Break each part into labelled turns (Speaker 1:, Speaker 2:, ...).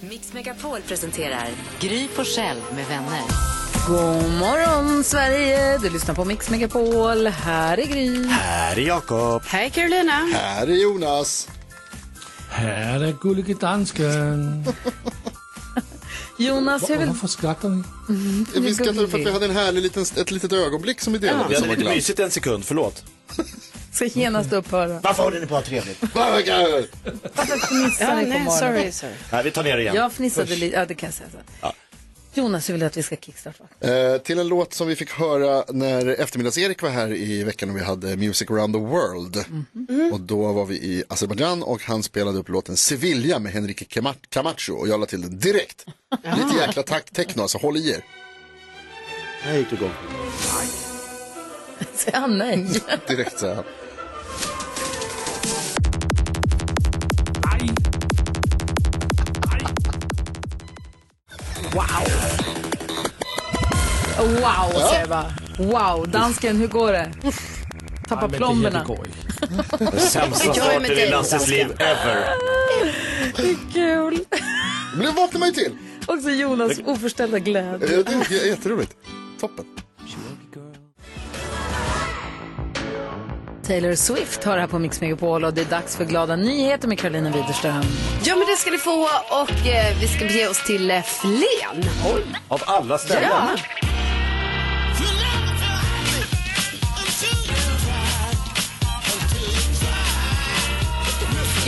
Speaker 1: Mix Megapol presenterar Gry Forssell med vänner.
Speaker 2: God morgon Sverige! Du lyssnar på Mix Megapol. Här är Gry.
Speaker 3: Här är Jakob.
Speaker 4: Hej Carolina.
Speaker 3: Här är Jonas.
Speaker 5: Här är gullige dansken.
Speaker 2: Jonas, hur vill... Mm,
Speaker 5: Varför skrattar ni?
Speaker 3: Vi skrattade för att vi hade en härlig liten, ett litet ögonblick som vi delade.
Speaker 6: Vi hade
Speaker 3: som var
Speaker 6: lite
Speaker 3: glatt.
Speaker 6: mysigt en sekund, förlåt.
Speaker 2: Ska genast upphöra.
Speaker 6: Varför håller ni på att ha trevligt?
Speaker 3: Burger!
Speaker 2: Fnissar ni på
Speaker 4: nej,
Speaker 2: morgonen?
Speaker 4: sorry, sorry.
Speaker 6: Nej, vi tar ner det igen.
Speaker 2: Jag fnissade lite, ja det kan jag säga sen. Jonas, hur vill du att vi ska kickstarta?
Speaker 3: Eh, till en låt som vi fick höra när eftermiddags-Erik var här i veckan och vi hade Music around the world.
Speaker 2: Mhm.
Speaker 6: Mm.
Speaker 3: Och då var vi i Azerbaijan och han spelade upp låten Sevilla med Henrique Cama- Camacho och jag la till den direkt. Lite jäkla tack techno alltså, håll i er.
Speaker 6: Här gick du igång.
Speaker 2: Säger han nej?
Speaker 3: Direkt så här.
Speaker 2: Wow, säger jag bara. Wow, dansken, hur går det? Tappar plomberna.
Speaker 6: Sämsta starten i Lasses liv ever.
Speaker 2: Kul!
Speaker 3: Men det vaknar man ju till.
Speaker 2: Också Jonas oförställda glädje.
Speaker 3: Eh, det är jätteroligt. Toppen.
Speaker 2: Taylor Swift hör här på Mix Megapol och det är dags för glada nyheter med Karolina Widerström.
Speaker 4: Ja men det ska ni få och eh, vi ska bege oss till eh, Flen.
Speaker 6: Av alla ställen.
Speaker 4: Ja.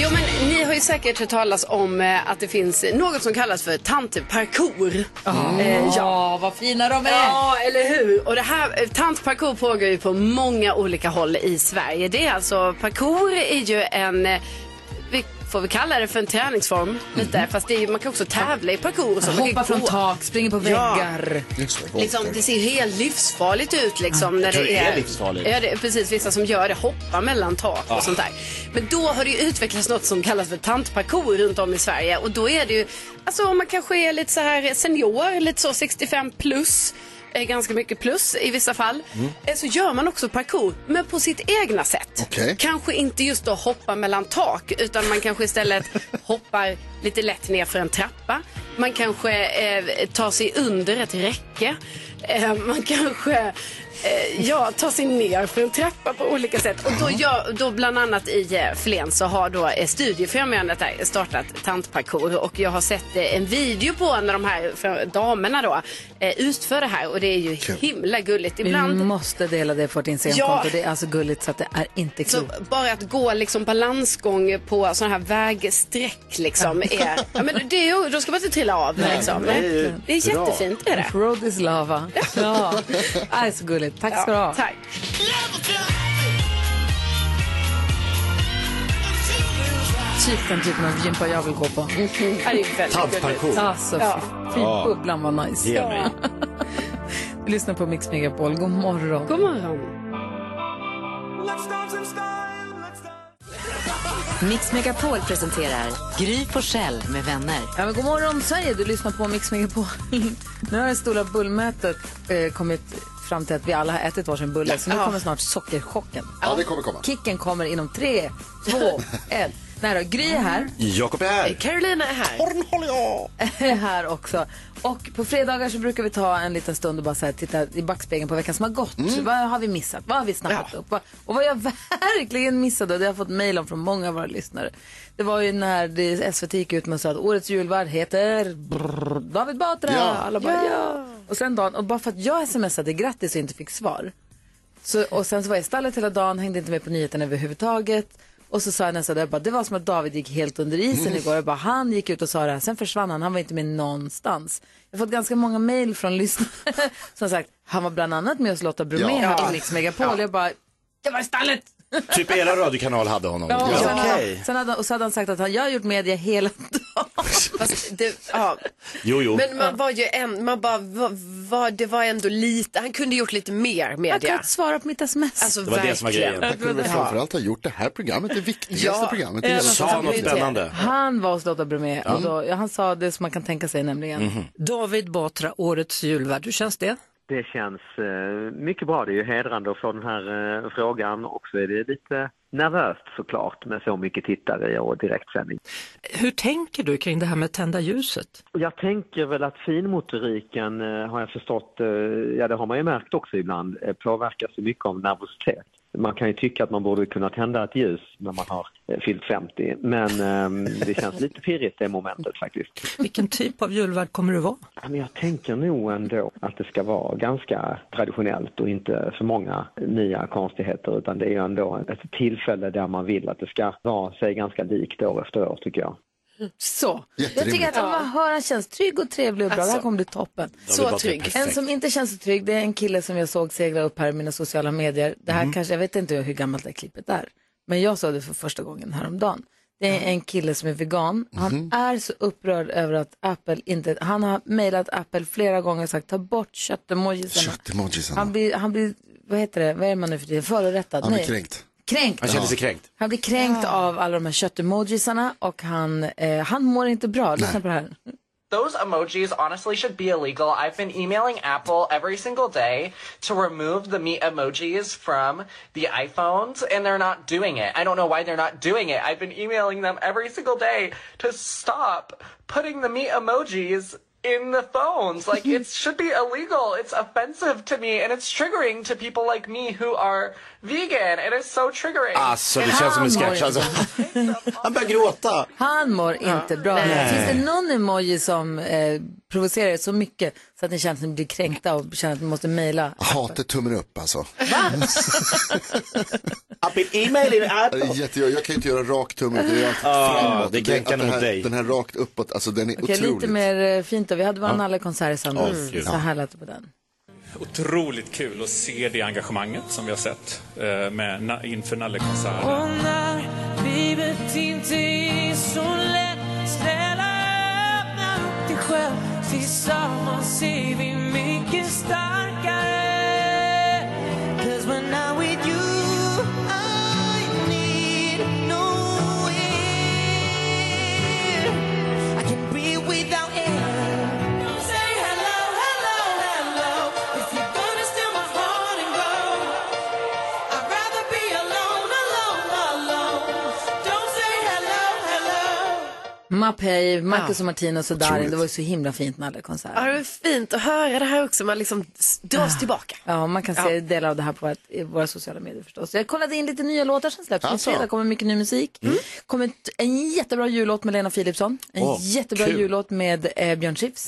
Speaker 4: Jo men ni har ju säkert hört talas om eh, att det finns något som kallas för tantparkour. Eh, ja.
Speaker 2: Ja, vad fina de är!
Speaker 4: Ja, eller hur? Och det här, eh, tantparkour pågår ju på många olika håll i Sverige. Det är alltså, parkour är ju en, eh, vi, får vi kalla det för en träningsform lite? Fast det är, ju- man kan också tävla i parkour och så. Man kan
Speaker 2: Hoppar Mm. från
Speaker 4: gå.
Speaker 2: tak, springer på väggar.
Speaker 3: Just det,
Speaker 4: Liksom,
Speaker 3: volter.
Speaker 4: det ser ju helt livsfarligt ut liksom. När
Speaker 6: tror
Speaker 4: det
Speaker 6: det
Speaker 4: är,
Speaker 6: är livsfarligt.
Speaker 4: Ja, det är precis. Vissa som gör det hoppar mellan tak och sånt där. Men då har det ju utvecklats något som kallas för tantparkour runt om i Sverige. Och då är det ju, alltså om man kanske är lite så här senior, lite så 65 plus. eh, Ganska mycket plus i vissa fall.
Speaker 7: Mm.
Speaker 6: Mm.
Speaker 4: eh, Så gör man också parkour, men på sitt egna sätt.
Speaker 3: Okej.
Speaker 4: Kanske inte just att hoppa mellan tak, utan man kanske istället hoppar lite lätt ner för en trappa. Man kanske eh, tar sig under ett räcke. Eh, man kanske eh, ja, tar sig ner för en trappa på olika sätt. Och då, gör, då bland annat i eh, Flen så har då eh, Studiefrämjandet där startat tantparkour och jag har sett eh, en video på när de här för, damerna då eh, utför det här och det är ju himla gulligt.
Speaker 2: Vi
Speaker 4: Ibland
Speaker 2: måste dela det på vårt Instagramkonto.
Speaker 4: Ja.
Speaker 2: Det är alltså gulligt så att det är inte
Speaker 4: Så
Speaker 2: klokt.
Speaker 4: bara att gå liksom balansgång på sådana här vägsträck liksom är, ja, men det är ju, då ska man inte trilla av liksom.
Speaker 6: det är ju
Speaker 4: Det är
Speaker 6: bra.
Speaker 4: jättefint, det är det.
Speaker 2: Road is lava. Ja, är så gulligt. Tack ska du ha.
Speaker 4: Ja, tack.
Speaker 2: Typ den typen av gympa jag vill gå på.
Speaker 4: Det är ju väldigt gulligt.
Speaker 6: Tantparkour.
Speaker 2: Alltså,
Speaker 4: Ja.
Speaker 2: fy- fy bubblan vad nice.
Speaker 6: Ge mig.
Speaker 2: Lyssna på Mix Megapol. God morgon.
Speaker 4: God morgon.
Speaker 1: Mix Megapol presenterar Gry Forssell med vänner.
Speaker 2: Ja, men god morgon Sverige, du lyssnar på Mix Megapol. nu har det stora bullmötet eh, kommit fram till att vi alla har ätit varsin bulle, så nu kommer snart sockerchocken.
Speaker 3: Ja, det kommer komma.
Speaker 2: Kicken kommer inom tre, två, ett. Nära, Gry är här,
Speaker 6: Jakob är här.
Speaker 4: Carolina är här.
Speaker 2: är här också. Och på fredagar så brukar vi ta en liten stund och bara så här, titta i backspegeln på veckan som har gått. Vad har vi missat? Vad har vi snappat upp? Vad- Och vad jag verkligen missade, och det har jag fått mejl om från många av våra lyssnare. Det var ju när det, SVT gick ut med och sa att årets julvärd heter brrr, David Batra.
Speaker 3: Ja.
Speaker 2: Alla bara, ja. Och sen dagen, och bara för att jag smsade grattis och inte fick svar. Så, och sen så var jag i stallet hela dagen, hängde inte med på nyheterna överhuvudtaget. Och så sa jag nästa dag, jag bara, det var som att David gick helt under isen igår. Jag bara, han gick ut och sa det här, sen försvann han, han var inte med någonstans. Jag har fått ganska många mejl från lyssnare som sagt, han var bland annat med oss Lotta Bromé
Speaker 3: Ja.
Speaker 2: här på Mix Megapol. Jag bara, jag var i stallet!
Speaker 6: Typ era radiokanal hade honom.
Speaker 2: Ja, och, sen
Speaker 6: Okej.
Speaker 2: hade, sen hade, och så hade han sagt att han, jag har gjort media hela
Speaker 4: Fast det, ja.
Speaker 8: Jo, jo.
Speaker 4: Men man var ju en, man bara, va, va, det var ändå lite, han kunde gjort lite mer
Speaker 2: Jag
Speaker 4: med
Speaker 2: kan
Speaker 4: det.
Speaker 2: inte svara på mitt sms.
Speaker 4: Alltså
Speaker 8: Det var det som var
Speaker 4: verkligen.
Speaker 8: grejen.
Speaker 3: Jag kunde väl framförallt ha gjort det här programmet, det viktigaste
Speaker 4: Ja.
Speaker 3: programmet i hela
Speaker 8: Sa något spännande.
Speaker 2: Han var hos Lotta Bromé och då, ja, han sa det som man kan tänka sig nämligen.
Speaker 9: David Batra, årets julvärd. Hur känns det?
Speaker 7: Det känns eh, mycket bra. Det är ju hedrande att få den här eh, frågan och så är det lite nervöst såklart med så mycket tittare och direktsändning.
Speaker 9: Hur tänker du kring det här med tända ljuset?
Speaker 7: Och Jag tänker väl att finmotoriken eh, har jag förstått, eh, ja det har man ju märkt också ibland, eh, påverkas ju mycket av nervositet. Man kan ju tycka att man borde kunna tända ett ljus när man har eh, fyllt 50 men eh, det känns lite pirrigt det momentet faktiskt.
Speaker 9: Vilken typ av julvärd kommer du vara?
Speaker 7: Ja, Men jag tänker nog ändå att det ska vara ganska traditionellt och inte för många nya konstigheter utan det är ju ändå ett tillfälle där man vill att det ska vara sig ganska likt år efter år tycker jag.
Speaker 2: Så. Jag
Speaker 3: Jätterimligt.
Speaker 2: tycker att om man hör han känns trygg och trevlig och bra, det här
Speaker 4: Alltså.
Speaker 2: kommer bli toppen.
Speaker 8: David
Speaker 4: Så
Speaker 8: Batra är
Speaker 4: trygg.
Speaker 8: perfekt.
Speaker 2: En som inte känns så trygg, det är en kille som jag såg segla upp här i mina sociala medier. Det här kanske, jag vet inte hur gammalt det här klippet är, men jag såg det för första gången häromdagen. Det är en kille som är vegan. Han är så upprörd över att Apple inte, han har mejlat Apple flera gånger och sagt ta bort köttemojisarna. Han
Speaker 3: Köttemojisarna.
Speaker 2: blir, han blir, vad heter det, vad är man nu för tiden, förorättad?
Speaker 3: Han blir
Speaker 2: Nej.
Speaker 3: kränkt.
Speaker 2: Kränkt.
Speaker 8: Han kände sig kränkt.
Speaker 2: Han blir kränkt av alla de här köttemojisarna och han, eh, han mår inte bra. Lyssna på det här.
Speaker 9: Those emojis honestly should be illegal. I've been emailing Apple every single day to remove the meat emojis from the iPhones, and they're not doing it. I don't know why they're not doing it. I've been emailing them every single day to stop putting the meat emojis in the phones. Like, it should be illegal. It's offensive to me, and it's triggering to people like me who are vegan. It is so triggering.
Speaker 8: Alltså, det känns som en sketch. Alltså. Han börjar gråta.
Speaker 2: Han mår inte bra. Finns det någon emoji som eh, provocerar er så mycket så att ni känner att ni blir kränkta och känner att ni måste mejla?
Speaker 3: Hatet tummen upp alltså.
Speaker 8: I've been emailing
Speaker 3: Det är
Speaker 8: Apple.
Speaker 3: Jätte, jag kan ju inte göra rak tumme upp. Det är alltid
Speaker 8: Ah,
Speaker 3: framåt.
Speaker 8: det är kränkande
Speaker 3: att det här-
Speaker 8: mot dig.
Speaker 3: Den här rakt uppåt, alltså den är
Speaker 2: Okej,
Speaker 3: otrolig.
Speaker 2: lite mer eh, fint då. Vi hade varann alla konserter
Speaker 8: Åh,
Speaker 2: samtidigt.
Speaker 8: gud.
Speaker 2: så här lät det på den.
Speaker 9: Otroligt kul att se det engagemanget som vi har sett eh, med, na, inför Nalle-konserten.
Speaker 2: Mapei, Marcus och Martinus och Darin.
Speaker 3: Otroligt.
Speaker 2: Det var ju så himla fint med alla konserter.
Speaker 4: Ja, det var fint att höra det här också, man liksom s- dras tillbaka.
Speaker 2: Ah. Ja, man kan se delar av det här på vårt, i våra sociala medier förstås. Jag kollade in lite nya låtar som släpps. På
Speaker 3: Alltså.
Speaker 2: fredag kommer mycket ny musik. Kommer ett- en jättebra jullåt med Lena Philipsson. En
Speaker 8: Mm. Åh,
Speaker 2: jättebra
Speaker 8: kul. Mhm.
Speaker 2: jullåt med eh, Björn Skifs.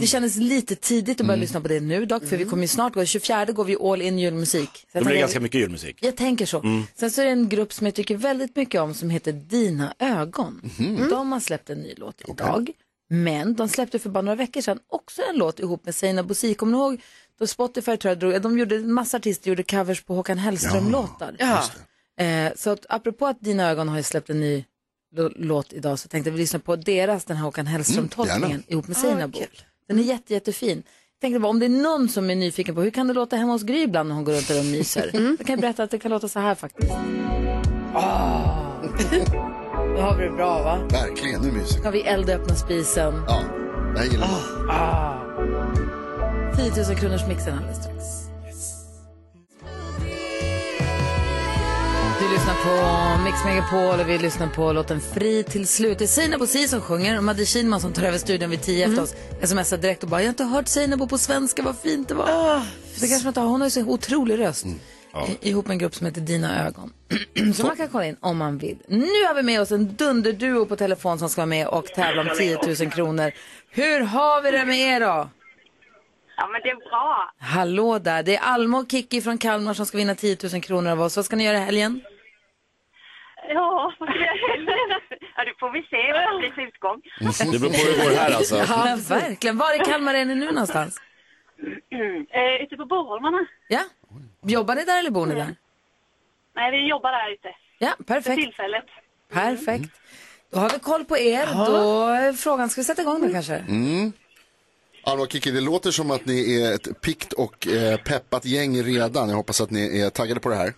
Speaker 2: Det kändes lite tidigt att
Speaker 8: Mm.
Speaker 2: börja lyssna på det nu dock, för vi kommer ju snart gå, 24 går vi all in julmusik. Så
Speaker 8: Det
Speaker 2: jag,
Speaker 8: Mm. blir
Speaker 2: tänker-
Speaker 8: ganska mycket julmusik. Mm.
Speaker 2: jag tänker så. Sen så är det en grupp som jag tycker väldigt mycket om som heter Dina ögon.
Speaker 3: Mhm.
Speaker 2: De har släppt en ny låt idag. Men de släppte för bara några veckor sedan också en låt ihop med Seinabo Bosi. Kommer ni ihåg då Spotify tror jag drog, de gjorde, en massa artister gjorde covers på Håkan Hellström-låtar. Eh, så att, apropå att Dina ögon har ju släppt en ny lo- låt idag så tänkte vi lyssna på deras, den här Håkan Hellström-tolkningen
Speaker 3: Mm, gärna.
Speaker 2: ihop med Seinabo. den är jätte, jättefin. Jag tänkte bara, om det är någon som är nyfiken på hur kan det låta hemma hos Gry ibland när hon går runt där och myser? Då kan jag berätta att det kan låta så här faktiskt. Oh. Då har vi det bra va?
Speaker 3: Verkligen, nu myser jag.
Speaker 2: Kan vi elda öppna spisen?
Speaker 3: Ja, det här gillar jag.
Speaker 2: Ah. 10 000 kronors mixen alldeles strax. Du lyssnar på Mix Megapol och vi lyssnar på låten Fri till slut. Det är Seinabo Si som sjunger och Madde Kihlman som tar över studion vid 10 efter oss. Smsar direkt och bara, jag har inte hört Seinabo på svenska, vad fint det var. Ah, det kanske man inte har, hon har ju så otrolig röst. I- Eh, Ihop med en grupp som heter Dina ögon. så man kan kolla in om man vill. Nu har vi med oss en dunderduo på telefon som ska vara med och tävla om 10 000 kronor. Hur har vi det med er då?
Speaker 10: Ja, men det är bra.
Speaker 2: Hallå där, det är Alma och Kiki från Kalmar som ska vinna 10 000 kronor av oss. Vad ska ni göra i helgen?
Speaker 10: Ja, ja du får vi se vad det blir utgång.
Speaker 8: Det beror på hur det går här alltså.
Speaker 2: Ja, verkligen. Var i Kalmar är ni nu någonstans?
Speaker 10: Eh, ute på Borholmarna.
Speaker 2: Ja? Jobbar ni där eller bor ni där?
Speaker 10: Nej, vi jobbar där ute
Speaker 2: Ja,
Speaker 10: för
Speaker 2: perfekt.
Speaker 10: tillfället.
Speaker 8: Mm.
Speaker 2: Perfekt. Då har vi koll på er. Då är frågan, ska vi sätta igång då kanske?
Speaker 3: Mm. Alva och Kiki, det låter som att ni är ett pikt och eh, peppat gäng redan. Jag hoppas att ni är taggade på det här.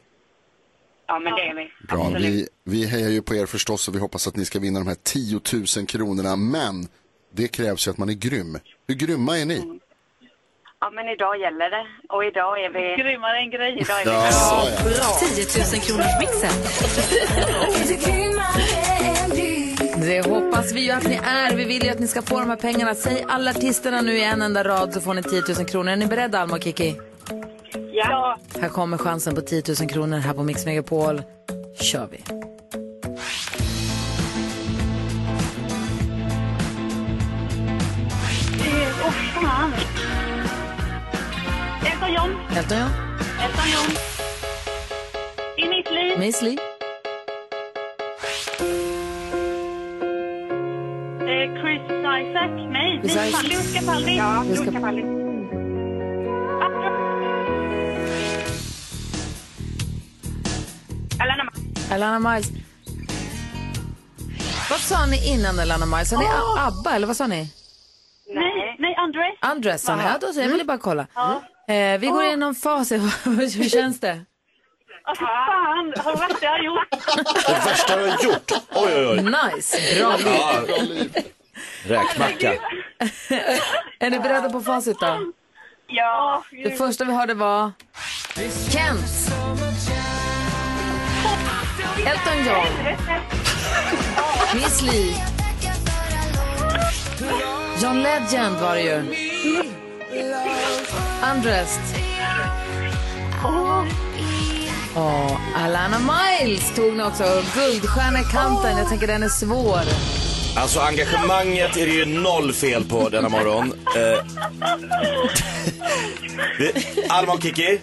Speaker 10: Ja, men det är vi.
Speaker 3: Bra, vi, vi hejar ju på er förstås och vi hoppas att ni ska vinna de här 10 000 kronorna. Men det krävs ju att man är grym. Hur grymma är
Speaker 2: Mm.
Speaker 3: ni?
Speaker 10: Ja, men idag gäller det. Och idag är vi... Grymmare än grej. Idag är vi
Speaker 3: Ja,
Speaker 10: bra.
Speaker 3: ja.
Speaker 10: bra.
Speaker 11: 10 000 kronors mixen.
Speaker 2: Det hoppas vi ju att ni är. Vi vill ju att ni ska få de här pengarna. Säg alla artisterna nu i en enda rad så får ni 10 000 kronor. Är ni beredda Alma och Kiki?
Speaker 10: Ja.
Speaker 2: Här kommer chansen på 10 000 kronor här på Mix Megapol. kör vi.
Speaker 10: Åh, fan. Elton John.
Speaker 2: Elton John.
Speaker 10: Elton John. I mitt liv.
Speaker 2: Miss Li.
Speaker 10: Eh, Chris Isaac. Nej,
Speaker 2: Chris
Speaker 10: Lisa.
Speaker 2: Isaac.
Speaker 10: Lewis Capaldi. Ja, Lewis Capaldi. Alana
Speaker 2: Alana Miles. Vad sa ni innan Alana Miles? Sa ni
Speaker 10: Ah!
Speaker 2: ABBA eller vad sa ni?
Speaker 10: Nej, nej, Andres. Mm.
Speaker 2: Andres sa ni. Ja, då så. Jag ville bara kolla.
Speaker 10: Ja.
Speaker 2: Eh, vi går igenom facit. Hur känns det?
Speaker 10: Åh,
Speaker 12: Alltså,
Speaker 10: fy fan. Vad värsta jag har gjort.
Speaker 8: Det värsta du har gjort? Oj, oj, oj.
Speaker 2: Nice. Bra liv.
Speaker 8: Ja. Räkmacka.
Speaker 2: Är ni beredda på facit då?
Speaker 10: Ja.
Speaker 2: Det första vi hörde var Kent. Elton John. Miss Li. John Legend var det ju. Undressed. Och Alana Miles tog ni också. Guldstjärna i kanten. Jag tänker den är svår.
Speaker 8: Alltså engagemanget är det ju noll fel på denna morgon. Eh, vi, Alma och Kiki,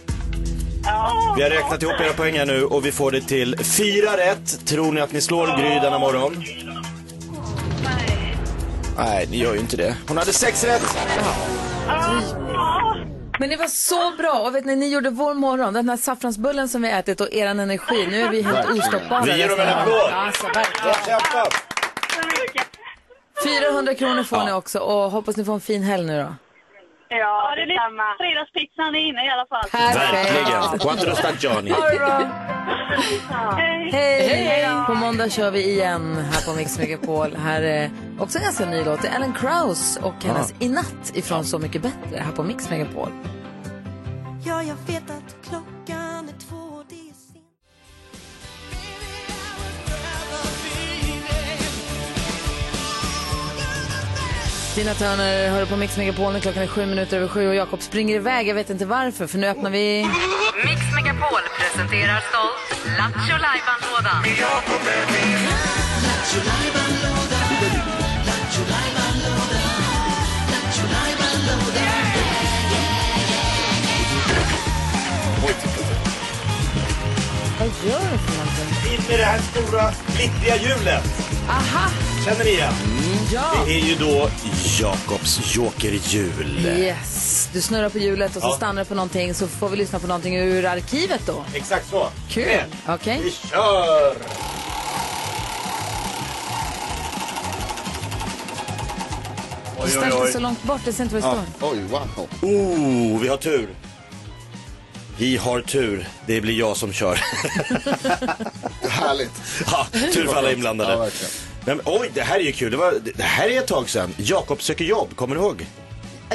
Speaker 8: vi har räknat ihop era poäng här nu och vi får det till fyra rätt. Tror ni att ni slår Gry denna morgon? Nej, ni gör ju inte det. Hon hade sex rätt.
Speaker 2: Men det var så bra. Och vet ni, ni gjorde vår morgon. Den här saffransbullen som vi ätit och er energi. Nu är vi helt
Speaker 8: Verkligen.
Speaker 2: ostoppbara.
Speaker 8: Vi ger dem en applåd.
Speaker 2: Alltså, verkligen.
Speaker 8: Kämpa!
Speaker 2: 400 kronor får ni också. Och hoppas ni får en fin helg nu då.
Speaker 10: Ja, det är Fredagspizzan är inne i alla fall.
Speaker 8: Verkligen. Quattro stagioni.
Speaker 2: Ha det bra. Hej! På måndag kör vi igen här på Mix Megapol. Här är också en ganska ny låt. Det är Ellen Krause och hennes I natt ifrån Så mycket bättre här på Mix Megapol.
Speaker 11: Ja, jag vet att klockan är två det är sent.
Speaker 2: Tina Turner hör på Mix Megapol när klockan är sju minuter över sju och Jakob springer iväg. Jag vet inte varför för nu öppnar vi...
Speaker 11: Mix Megapol presenterar stolt Lattjo Lajban-lådan.
Speaker 2: Vad gör du för någonting?
Speaker 8: In med det här stora glittriga hjulet.
Speaker 2: Aha! Mm,
Speaker 8: Känner ni igen?
Speaker 2: Ja.
Speaker 8: Det är ju då Jakobs jokerhjul.
Speaker 2: Yes! Du snurrar på hjulet och så
Speaker 8: Ja.
Speaker 2: stannar du på någonting så får vi lyssna på någonting ur arkivet då.
Speaker 8: Exakt så.
Speaker 2: Kul! Okej.
Speaker 8: Vi kör!
Speaker 2: Du
Speaker 8: Oj, oj,
Speaker 2: ställde
Speaker 8: oj.
Speaker 2: så långt bort, jag ser inte vad det
Speaker 8: Ja.
Speaker 2: står.
Speaker 3: Oj, wow.
Speaker 8: Oh, vi har tur. Vi har tur. Det blir jag som kör.
Speaker 3: Härligt.
Speaker 8: Ja, tur för alla inblandade.
Speaker 3: Ja, verkligen.
Speaker 8: Nej, men, oj, det här är ju kul. Det, var, det här är ett tag sedan. Jakob söker jobb, kommer du ihåg?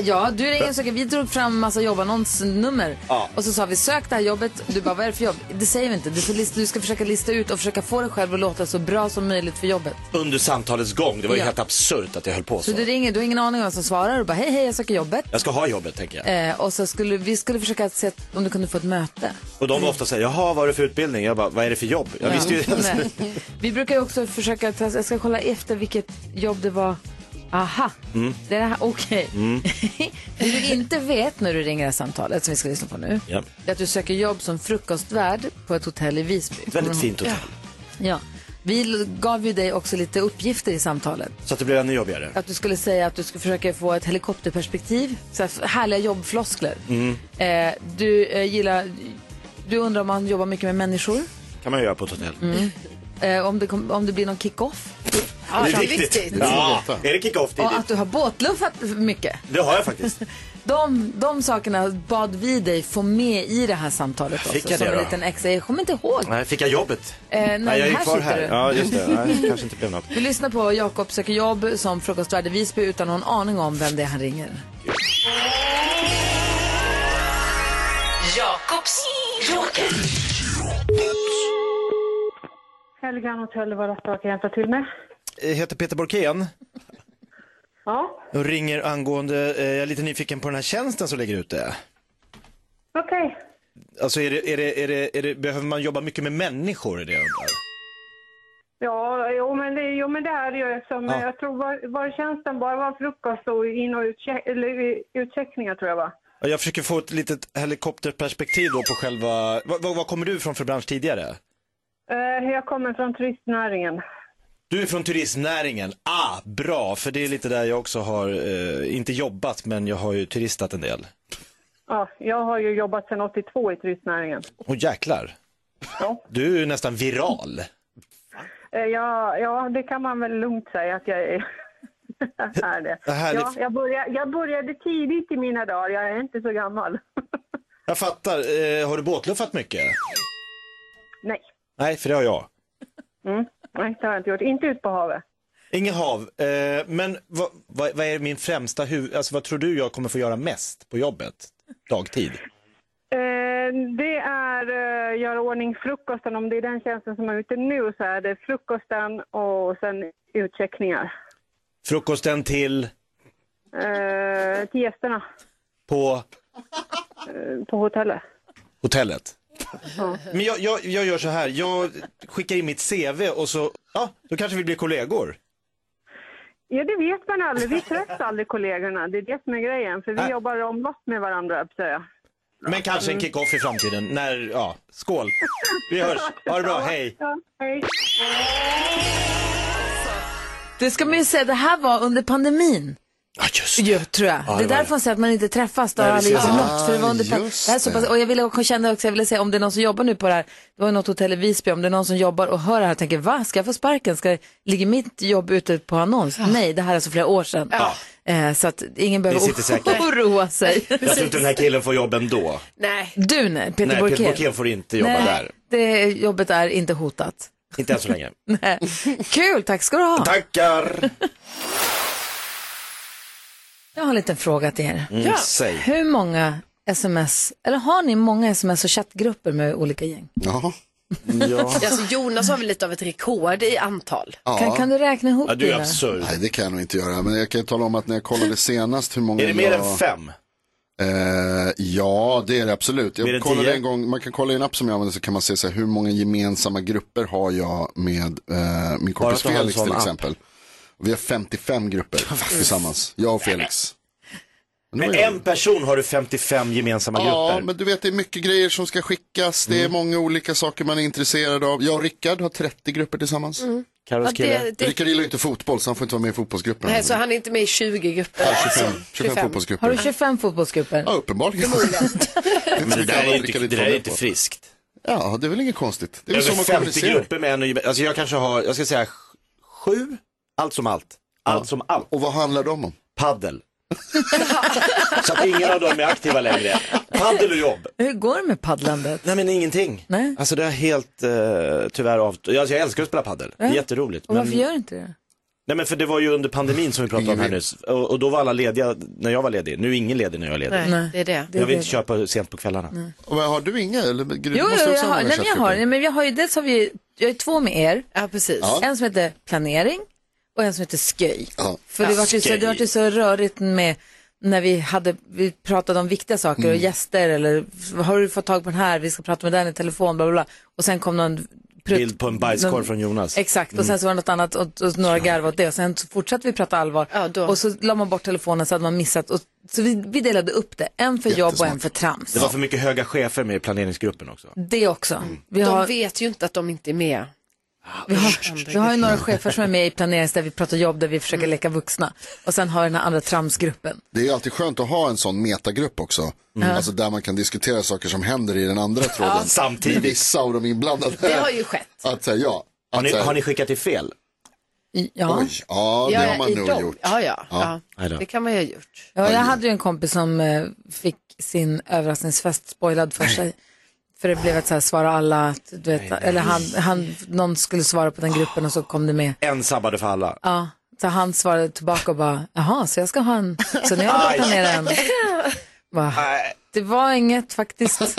Speaker 2: Ja, du ringer och söker. Vi drog fram massa jobbannonsnummer.
Speaker 8: Ja.
Speaker 2: Och så sa vi sök det här jobbet. Du bara, vad är det för jobb? Det säger vi inte. Du, får lista, du ska försöka lista ut och försöka få dig själv att låta så bra som möjligt för jobbet.
Speaker 8: Under samtalets gång. Det var ju
Speaker 2: Ja.
Speaker 8: helt absurt att jag höll på
Speaker 2: Så
Speaker 8: så.
Speaker 2: du ringer, du har ingen aning om vem som svarar. Du bara, hej hej, jag söker jobbet.
Speaker 8: Jag ska ha jobbet, tänker jag.
Speaker 2: Eh, och så skulle vi skulle försöka se om du kunde få ett möte.
Speaker 8: Och de var ofta så här, jaha, vad är det för utbildning? Jag bara, vad är det för jobb? Jag visste ju.
Speaker 2: Nej. Vi brukar ju också försöka, ta- jag ska kolla efter vilket jobb det var. Aha,
Speaker 8: Mm.
Speaker 2: det är det här, okej.
Speaker 8: Mm.
Speaker 2: Det du inte vet när du ringer det här samtalet som vi ska lyssna på nu.
Speaker 8: Ja.
Speaker 2: Det är att du söker jobb som frukostvärd på ett hotell i Visby.
Speaker 8: Ett väldigt fint hotell.
Speaker 2: Ja. Vi l- gav ju dig också lite uppgifter i samtalet.
Speaker 8: Så att det blev ännu jobbigare.
Speaker 2: Att du skulle säga att du skulle försöka få ett helikopterperspektiv. Så här f- härliga jobbfloskler.
Speaker 8: Mm.
Speaker 2: Eh, du eh, gillar, du undrar om man jobbar mycket med människor. Mm.
Speaker 8: kan man ju göra på ett hotell.
Speaker 2: Eh, om, det kom, om det blir någon kick-off. Ja, det är viktigt.
Speaker 8: Ja, är det kick-off
Speaker 2: Och att
Speaker 8: tidigt?
Speaker 2: du har båtluffat mycket.
Speaker 8: Det har jag faktiskt.
Speaker 2: De, de sakerna bad vi dig få med i det här samtalet också.
Speaker 8: Fick jag det
Speaker 2: som en
Speaker 8: då?
Speaker 2: liten extra. Jag kommer inte ihåg.
Speaker 8: Nej, fick jag jobbet?
Speaker 2: Eh, nej,
Speaker 8: jag gick
Speaker 2: här
Speaker 8: kvar
Speaker 2: sitter
Speaker 8: här.
Speaker 2: du.
Speaker 8: Ja, just det. Nej, det kanske inte blev något.
Speaker 2: Vi lyssnar på Jakob söker jobb som frukostvärd i Visby utan någon aning om vem det är han ringer.
Speaker 13: Jakobs joker.
Speaker 6: Helgan hotell, vad jag kan hjälpa till med?
Speaker 8: Jag Eh, heter Peter Borkén
Speaker 6: Ja,
Speaker 8: och ringer angående, eh, jag är lite nyfiken på den här tjänsten som ligger ute.
Speaker 6: okej.
Speaker 8: Alltså är det, är det, är det, är det, behöver man jobba mycket med människor? Är det jag undrar?
Speaker 6: Ja, jo men, det, jo, men det här är ju som,
Speaker 8: Ja.
Speaker 6: jag tror var, var tjänsten bara var frukost och in och utcheck, eller, utcheckningar tror jag va?
Speaker 8: Ja, Jag försöker få ett litet helikopterperspektiv då på själva, vad, vad, vad kommer du från för bransch tidigare?
Speaker 6: Eh, jag kommer från turistnäringen.
Speaker 8: Du är från turistnäringen, ah bra, för det är lite där jag också har, eh, inte jobbat men jag har ju turistat en del.
Speaker 6: Ja, jag har ju jobbat sedan 82 i turistnäringen.
Speaker 8: Åh jäklar. Du är ju nästan viral.
Speaker 6: Eh, ja, ja, det kan man väl lugnt säga att jag är. är det.
Speaker 8: Det här är-
Speaker 6: Ja, jag, började, jag började tidigt i mina dagar, jag är inte så gammal.
Speaker 8: Jag fattar, eh, har du båtluffat mycket?
Speaker 6: Nej.
Speaker 8: Nej, för det har jag.
Speaker 6: Mm. Nej, det har jag inte gjort. Inte ut på havet.
Speaker 8: Inget hav, eh, men vad, vad, vad är min främsta huvud, alltså vad tror du jag kommer få göra mest på jobbet? Dagtid?
Speaker 6: Eh, Det är eh, göra ordning frukosten. Om det är den tjänsten som är ute nu så är det frukosten och sen utcheckningar
Speaker 8: Frukosten till
Speaker 6: eh, till gästerna
Speaker 8: på
Speaker 6: eh, på hotellet.
Speaker 8: hotellet?
Speaker 6: Ja.
Speaker 8: Men jag, jag, jag gör så här, jag skickar in mitt CV och så, ja, då kanske vi blir kollegor.
Speaker 6: ja, det vet man aldrig. Vi träffas aldrig kollegorna. Det är det som är grejen. För vi
Speaker 8: Äh.
Speaker 6: jobbar omlott med varandra, höll jag på att säga.
Speaker 8: Men kanske en
Speaker 6: Mm.
Speaker 8: kick-off i framtiden, när, ja, skål. Vi hörs, ha det bra, hej.
Speaker 6: Ja, hej.
Speaker 2: Det ska man ju säga, det här var under pandemin.
Speaker 8: Ja, just
Speaker 2: det. tror jag.
Speaker 13: Ja, det
Speaker 2: det är
Speaker 13: var det.
Speaker 2: därför man säger att man inte träffas, då
Speaker 13: Nej,
Speaker 2: har
Speaker 13: det
Speaker 2: aldrig gjort
Speaker 13: ser jag.
Speaker 2: något. För det var under
Speaker 13: Ah,
Speaker 2: pan-
Speaker 13: just
Speaker 2: det här är så pass,
Speaker 13: det.
Speaker 2: och jag ville också, kände också, jag ville säga om det är någon som jobbar nu på det här, det var ju något hotell i Visby, om det är någon som jobbar och hör det här och tänker, va, ska jag få sparken? Ska, ligger mitt jobb ute på annons? Nej, det här är alltså flera år sedan.
Speaker 8: Ja.
Speaker 2: Eh, så att ingen behöver
Speaker 8: Ni sitter säkert.
Speaker 2: oroa sig.
Speaker 8: Jag tror inte den här killen får jobb ändå.
Speaker 2: Nej. Du nej, Peter
Speaker 8: Nej,
Speaker 2: Borkén.
Speaker 8: Peter Borkén får inte jobba
Speaker 2: nej,
Speaker 8: där.
Speaker 2: Det jobbet är inte hotat.
Speaker 8: Inte än så länge.
Speaker 2: Nej. Kul, tack ska du ha.
Speaker 8: Tackar.
Speaker 2: Jag har en liten fråga till er.
Speaker 8: Mm, Ja. säg.
Speaker 2: Hur många sms, eller har ni många sms och chattgrupper med olika gäng?
Speaker 3: Ja.
Speaker 4: Alltså, Jonas har väl lite av ett rekord i antal.
Speaker 3: Ja.
Speaker 2: Kan, kan du räkna ihop dina?
Speaker 3: Nej, det kan jag nog inte göra. Men jag kan ju tala om att när jag kollade senast hur många
Speaker 8: Är det mer
Speaker 3: jag...
Speaker 8: än fem?
Speaker 3: Eh, ja, det är det absolut.
Speaker 8: Mer än
Speaker 3: Jag kollade
Speaker 8: tio?
Speaker 3: en gång, man kan kolla i en app som jag använder så kan man se så här, hur många gemensamma grupper har jag med eh, min
Speaker 8: Bara
Speaker 3: kompis
Speaker 8: att du har en
Speaker 3: Felix
Speaker 8: sån
Speaker 3: till
Speaker 8: app.
Speaker 3: exempel. Och vi har 55 grupper tillsammans, jag och Felix.
Speaker 8: Med en person har du 55 gemensamma
Speaker 3: Ja,
Speaker 8: grupper.
Speaker 3: men du vet det är mycket grejer som ska skickas,
Speaker 8: Mm.
Speaker 3: det är många olika saker man är intresserad av. Jag och Rickard har 30 grupper tillsammans. Mm.
Speaker 8: Carros
Speaker 4: Ja, det- kille. det-
Speaker 3: Rickard gillar ju inte fotboll så han får inte vara med i fotbollsgruppen.
Speaker 4: Nej, så han är inte med i 20 grupper.
Speaker 3: Ja, 25,
Speaker 4: alltså.
Speaker 3: 25 fotbollsgrupper.
Speaker 2: Har du 25 fotbollsgrupper?
Speaker 3: Ja, uppenbarligen.
Speaker 8: Men det där är inte, det där är inte
Speaker 3: på.
Speaker 8: friskt.
Speaker 3: Ja, det är väl inget konstigt. Det är väl
Speaker 8: Över
Speaker 3: så man
Speaker 8: 50
Speaker 3: kommunicerar.
Speaker 8: grupper med en och gem- Alltså jag kanske har, jag ska säga sj- sju, allt som allt. Allt som allt.
Speaker 3: Och vad handlar de om?
Speaker 8: Paddel. Så att ingen av dem är aktiva längre. Paddel och jobb.
Speaker 2: Hur går det med paddlandet?
Speaker 8: Nej men ingenting.
Speaker 2: Nej.
Speaker 8: Alltså det är helt eh, tyvärr av. Alltså jag älskar att spela paddel. Det är
Speaker 2: Ja.
Speaker 8: jätteroligt.
Speaker 2: Och
Speaker 8: Men...
Speaker 2: varför gör du inte det?
Speaker 8: Nej men för det var ju under pandemin som vi pratade om här nyss. Och, och då var alla lediga när jag var ledig. Nu är ingen ledig när jag är ledig.
Speaker 4: det är det.
Speaker 8: Jag vill inte köpa sent på kvällarna.
Speaker 3: Och vad, har du inga? Eller, du
Speaker 2: Jo,
Speaker 3: måste
Speaker 2: jo,
Speaker 3: också
Speaker 2: jag har, nej,
Speaker 3: många
Speaker 2: men jag har,
Speaker 3: chattgrupper.
Speaker 2: nej, men jag har ju, dels har vi, jag har ju två med er.
Speaker 4: Ja, precis.
Speaker 3: Ja.
Speaker 2: En som heter planering och en som heter sköj.
Speaker 3: Ja.
Speaker 2: För det var, ju så, det var ju så rörigt med när vi, hade, vi pratade om viktiga saker och
Speaker 4: Mm.
Speaker 2: gäster eller har du fått tag på den här, vi ska prata med den i telefon, bla bla bla. Och sen kom någon prutt-
Speaker 8: Bild på en bajskorv
Speaker 2: någon-
Speaker 8: från Jonas.
Speaker 2: Exakt, och sen
Speaker 8: Mm.
Speaker 2: så var det något annat och, och några garvade åt det och sen så fortsatte vi prata allvar. och så la man bort telefonen så hade man missat. Och, så vi, vi delade upp det, en för jobb och en för trams.
Speaker 8: Det var för mycket höga chefer med i planeringsgruppen också.
Speaker 2: Det också. Vi
Speaker 4: Mm. de
Speaker 2: har,
Speaker 4: vet ju inte att de inte är med.
Speaker 2: vi har, vi har ju några chefer som är med i planerings där vi pratar jobb, där vi försöker
Speaker 4: Mm.
Speaker 2: leka vuxna. Och sen har vi den här andra tramsgruppen.
Speaker 3: Det är ju alltid skönt att ha en sån metagrupp också.
Speaker 2: Mm.
Speaker 3: Alltså där man kan diskutera saker som händer i den andra tråden.
Speaker 8: Ja. Samtidigt.
Speaker 3: Med vissa av de inblandade.
Speaker 4: Det har ju skett.
Speaker 3: Att säga ja. Att,
Speaker 8: Har ni,
Speaker 3: så här-
Speaker 8: har ni skickat till fel?
Speaker 2: Ja.
Speaker 3: Oj, ja det
Speaker 2: Ja,
Speaker 3: har man
Speaker 2: i
Speaker 3: nog
Speaker 2: dem.
Speaker 3: gjort.
Speaker 2: Ja, ja, ja.
Speaker 3: Nej då.
Speaker 4: Det kan man ju ha gjort.
Speaker 2: Ja, jag hade ju en kompis som eh, fick sin överraskningsfest spoilad för sig. För det blev ett så här svara alla, du vet, eller han, han, någon skulle svara på den gruppen och så kom det med.
Speaker 8: En sabbade för alla.
Speaker 2: Ja, så han svarade tillbaka och bara, jaha, så jag ska ha en, så nu har jag
Speaker 8: Aj.
Speaker 2: planerat en. Va? Det var inget faktiskt.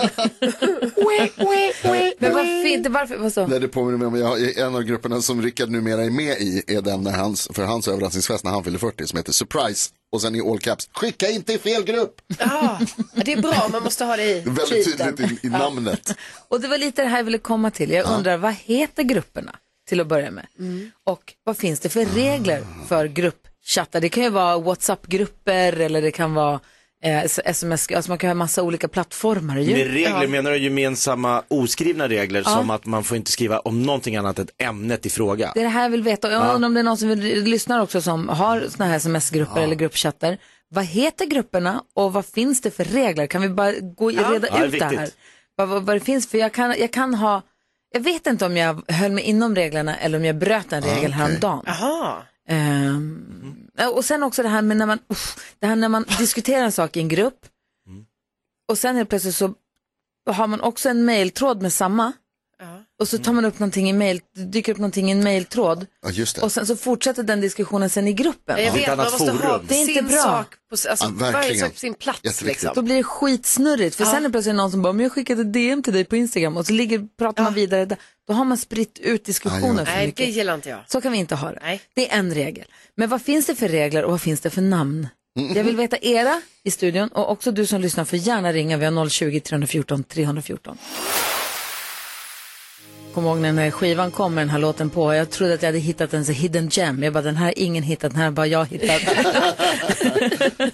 Speaker 2: Men vad fint, det varför, vad så?
Speaker 3: Nej, det påminner mig om, jag, en av grupperna som Rickard numera är med i är den när hans, för hans överraskningsfest när han fyllde 40 som heter Surprise och sen i all caps, skicka inte i fel grupp!
Speaker 4: Ja, det är bra, man måste ha det i
Speaker 3: Väldigt
Speaker 4: titeln.
Speaker 3: tydligt i, i
Speaker 4: Ja.
Speaker 3: namnet.
Speaker 2: Och det var lite det här jag ville komma till. Jag
Speaker 3: Ja.
Speaker 2: undrar, vad heter grupperna till att börja med?
Speaker 4: Mm.
Speaker 2: Och vad finns det för regler för gruppchattar? Det kan ju vara WhatsApp-grupper eller det kan vara eh, s- sms, alltså man kan ha massa olika plattformar ju.
Speaker 8: Med regler menar du gemensamma oskrivna regler
Speaker 2: Ja.
Speaker 8: som att man får inte skriva om någonting annat än ämnet i fråga.
Speaker 2: Det är det här jag vill veta. Och Jag
Speaker 8: Ja.
Speaker 2: undrar om det är någon som vill, lyssnar också som har såna här sms-grupper eller gruppchattar. Vad heter grupperna och vad finns det för regler? Kan vi bara gå i-
Speaker 13: Ja.
Speaker 2: reda
Speaker 13: Ja, det är
Speaker 2: ut det här?
Speaker 13: viktigt.
Speaker 2: Vad, vad, vad det finns för, jag kan, jag kan ha, jag vet inte om jag höll mig inom reglerna eller om jag bröt en
Speaker 13: Ah,
Speaker 2: regel häromdagen.
Speaker 4: Aha.
Speaker 2: Ehm, och sen också det här med när man, uff, det här när man diskuterar en sak i en grupp och sen helt plötsligt så har man också en mejltråd med samma. Och så tar man upp någonting i mail, dyker upp någonting i en mejltråd.
Speaker 3: Ja, just det.
Speaker 2: Och sen så fortsätter den diskussionen sen i gruppen.
Speaker 4: Jag vet, man måste ha
Speaker 2: Det är inte
Speaker 4: sin
Speaker 2: bra.
Speaker 4: sak, på, s- alltså,
Speaker 2: Ja,
Speaker 4: varje
Speaker 2: verkligen.
Speaker 4: sak på sin plats.
Speaker 2: Jätteviktigt.
Speaker 4: Liksom.
Speaker 2: Då blir det skitsnurrigt. För
Speaker 4: Ja.
Speaker 2: sen är det plötsligt någon som bara, men jag skickade DM till dig på Instagram och så ligger, pratar man vidare där. Då har man spritt ut diskussionen för
Speaker 4: Nej, det
Speaker 2: mycket.
Speaker 4: gillar inte jag.
Speaker 2: Så kan vi inte ha det. Det är en regel. Men vad finns det för regler och vad finns det för namn? Jag vill veta era i studion och också du som lyssnar får gärna ringa. Vi har 020-314 314. Kommer ihåg när den här skivan kom med den här låten på. Jag trodde att jag hade hittat en så hidden gem. Jag bara, den här har ingen hittat, den här har bara jag hittat.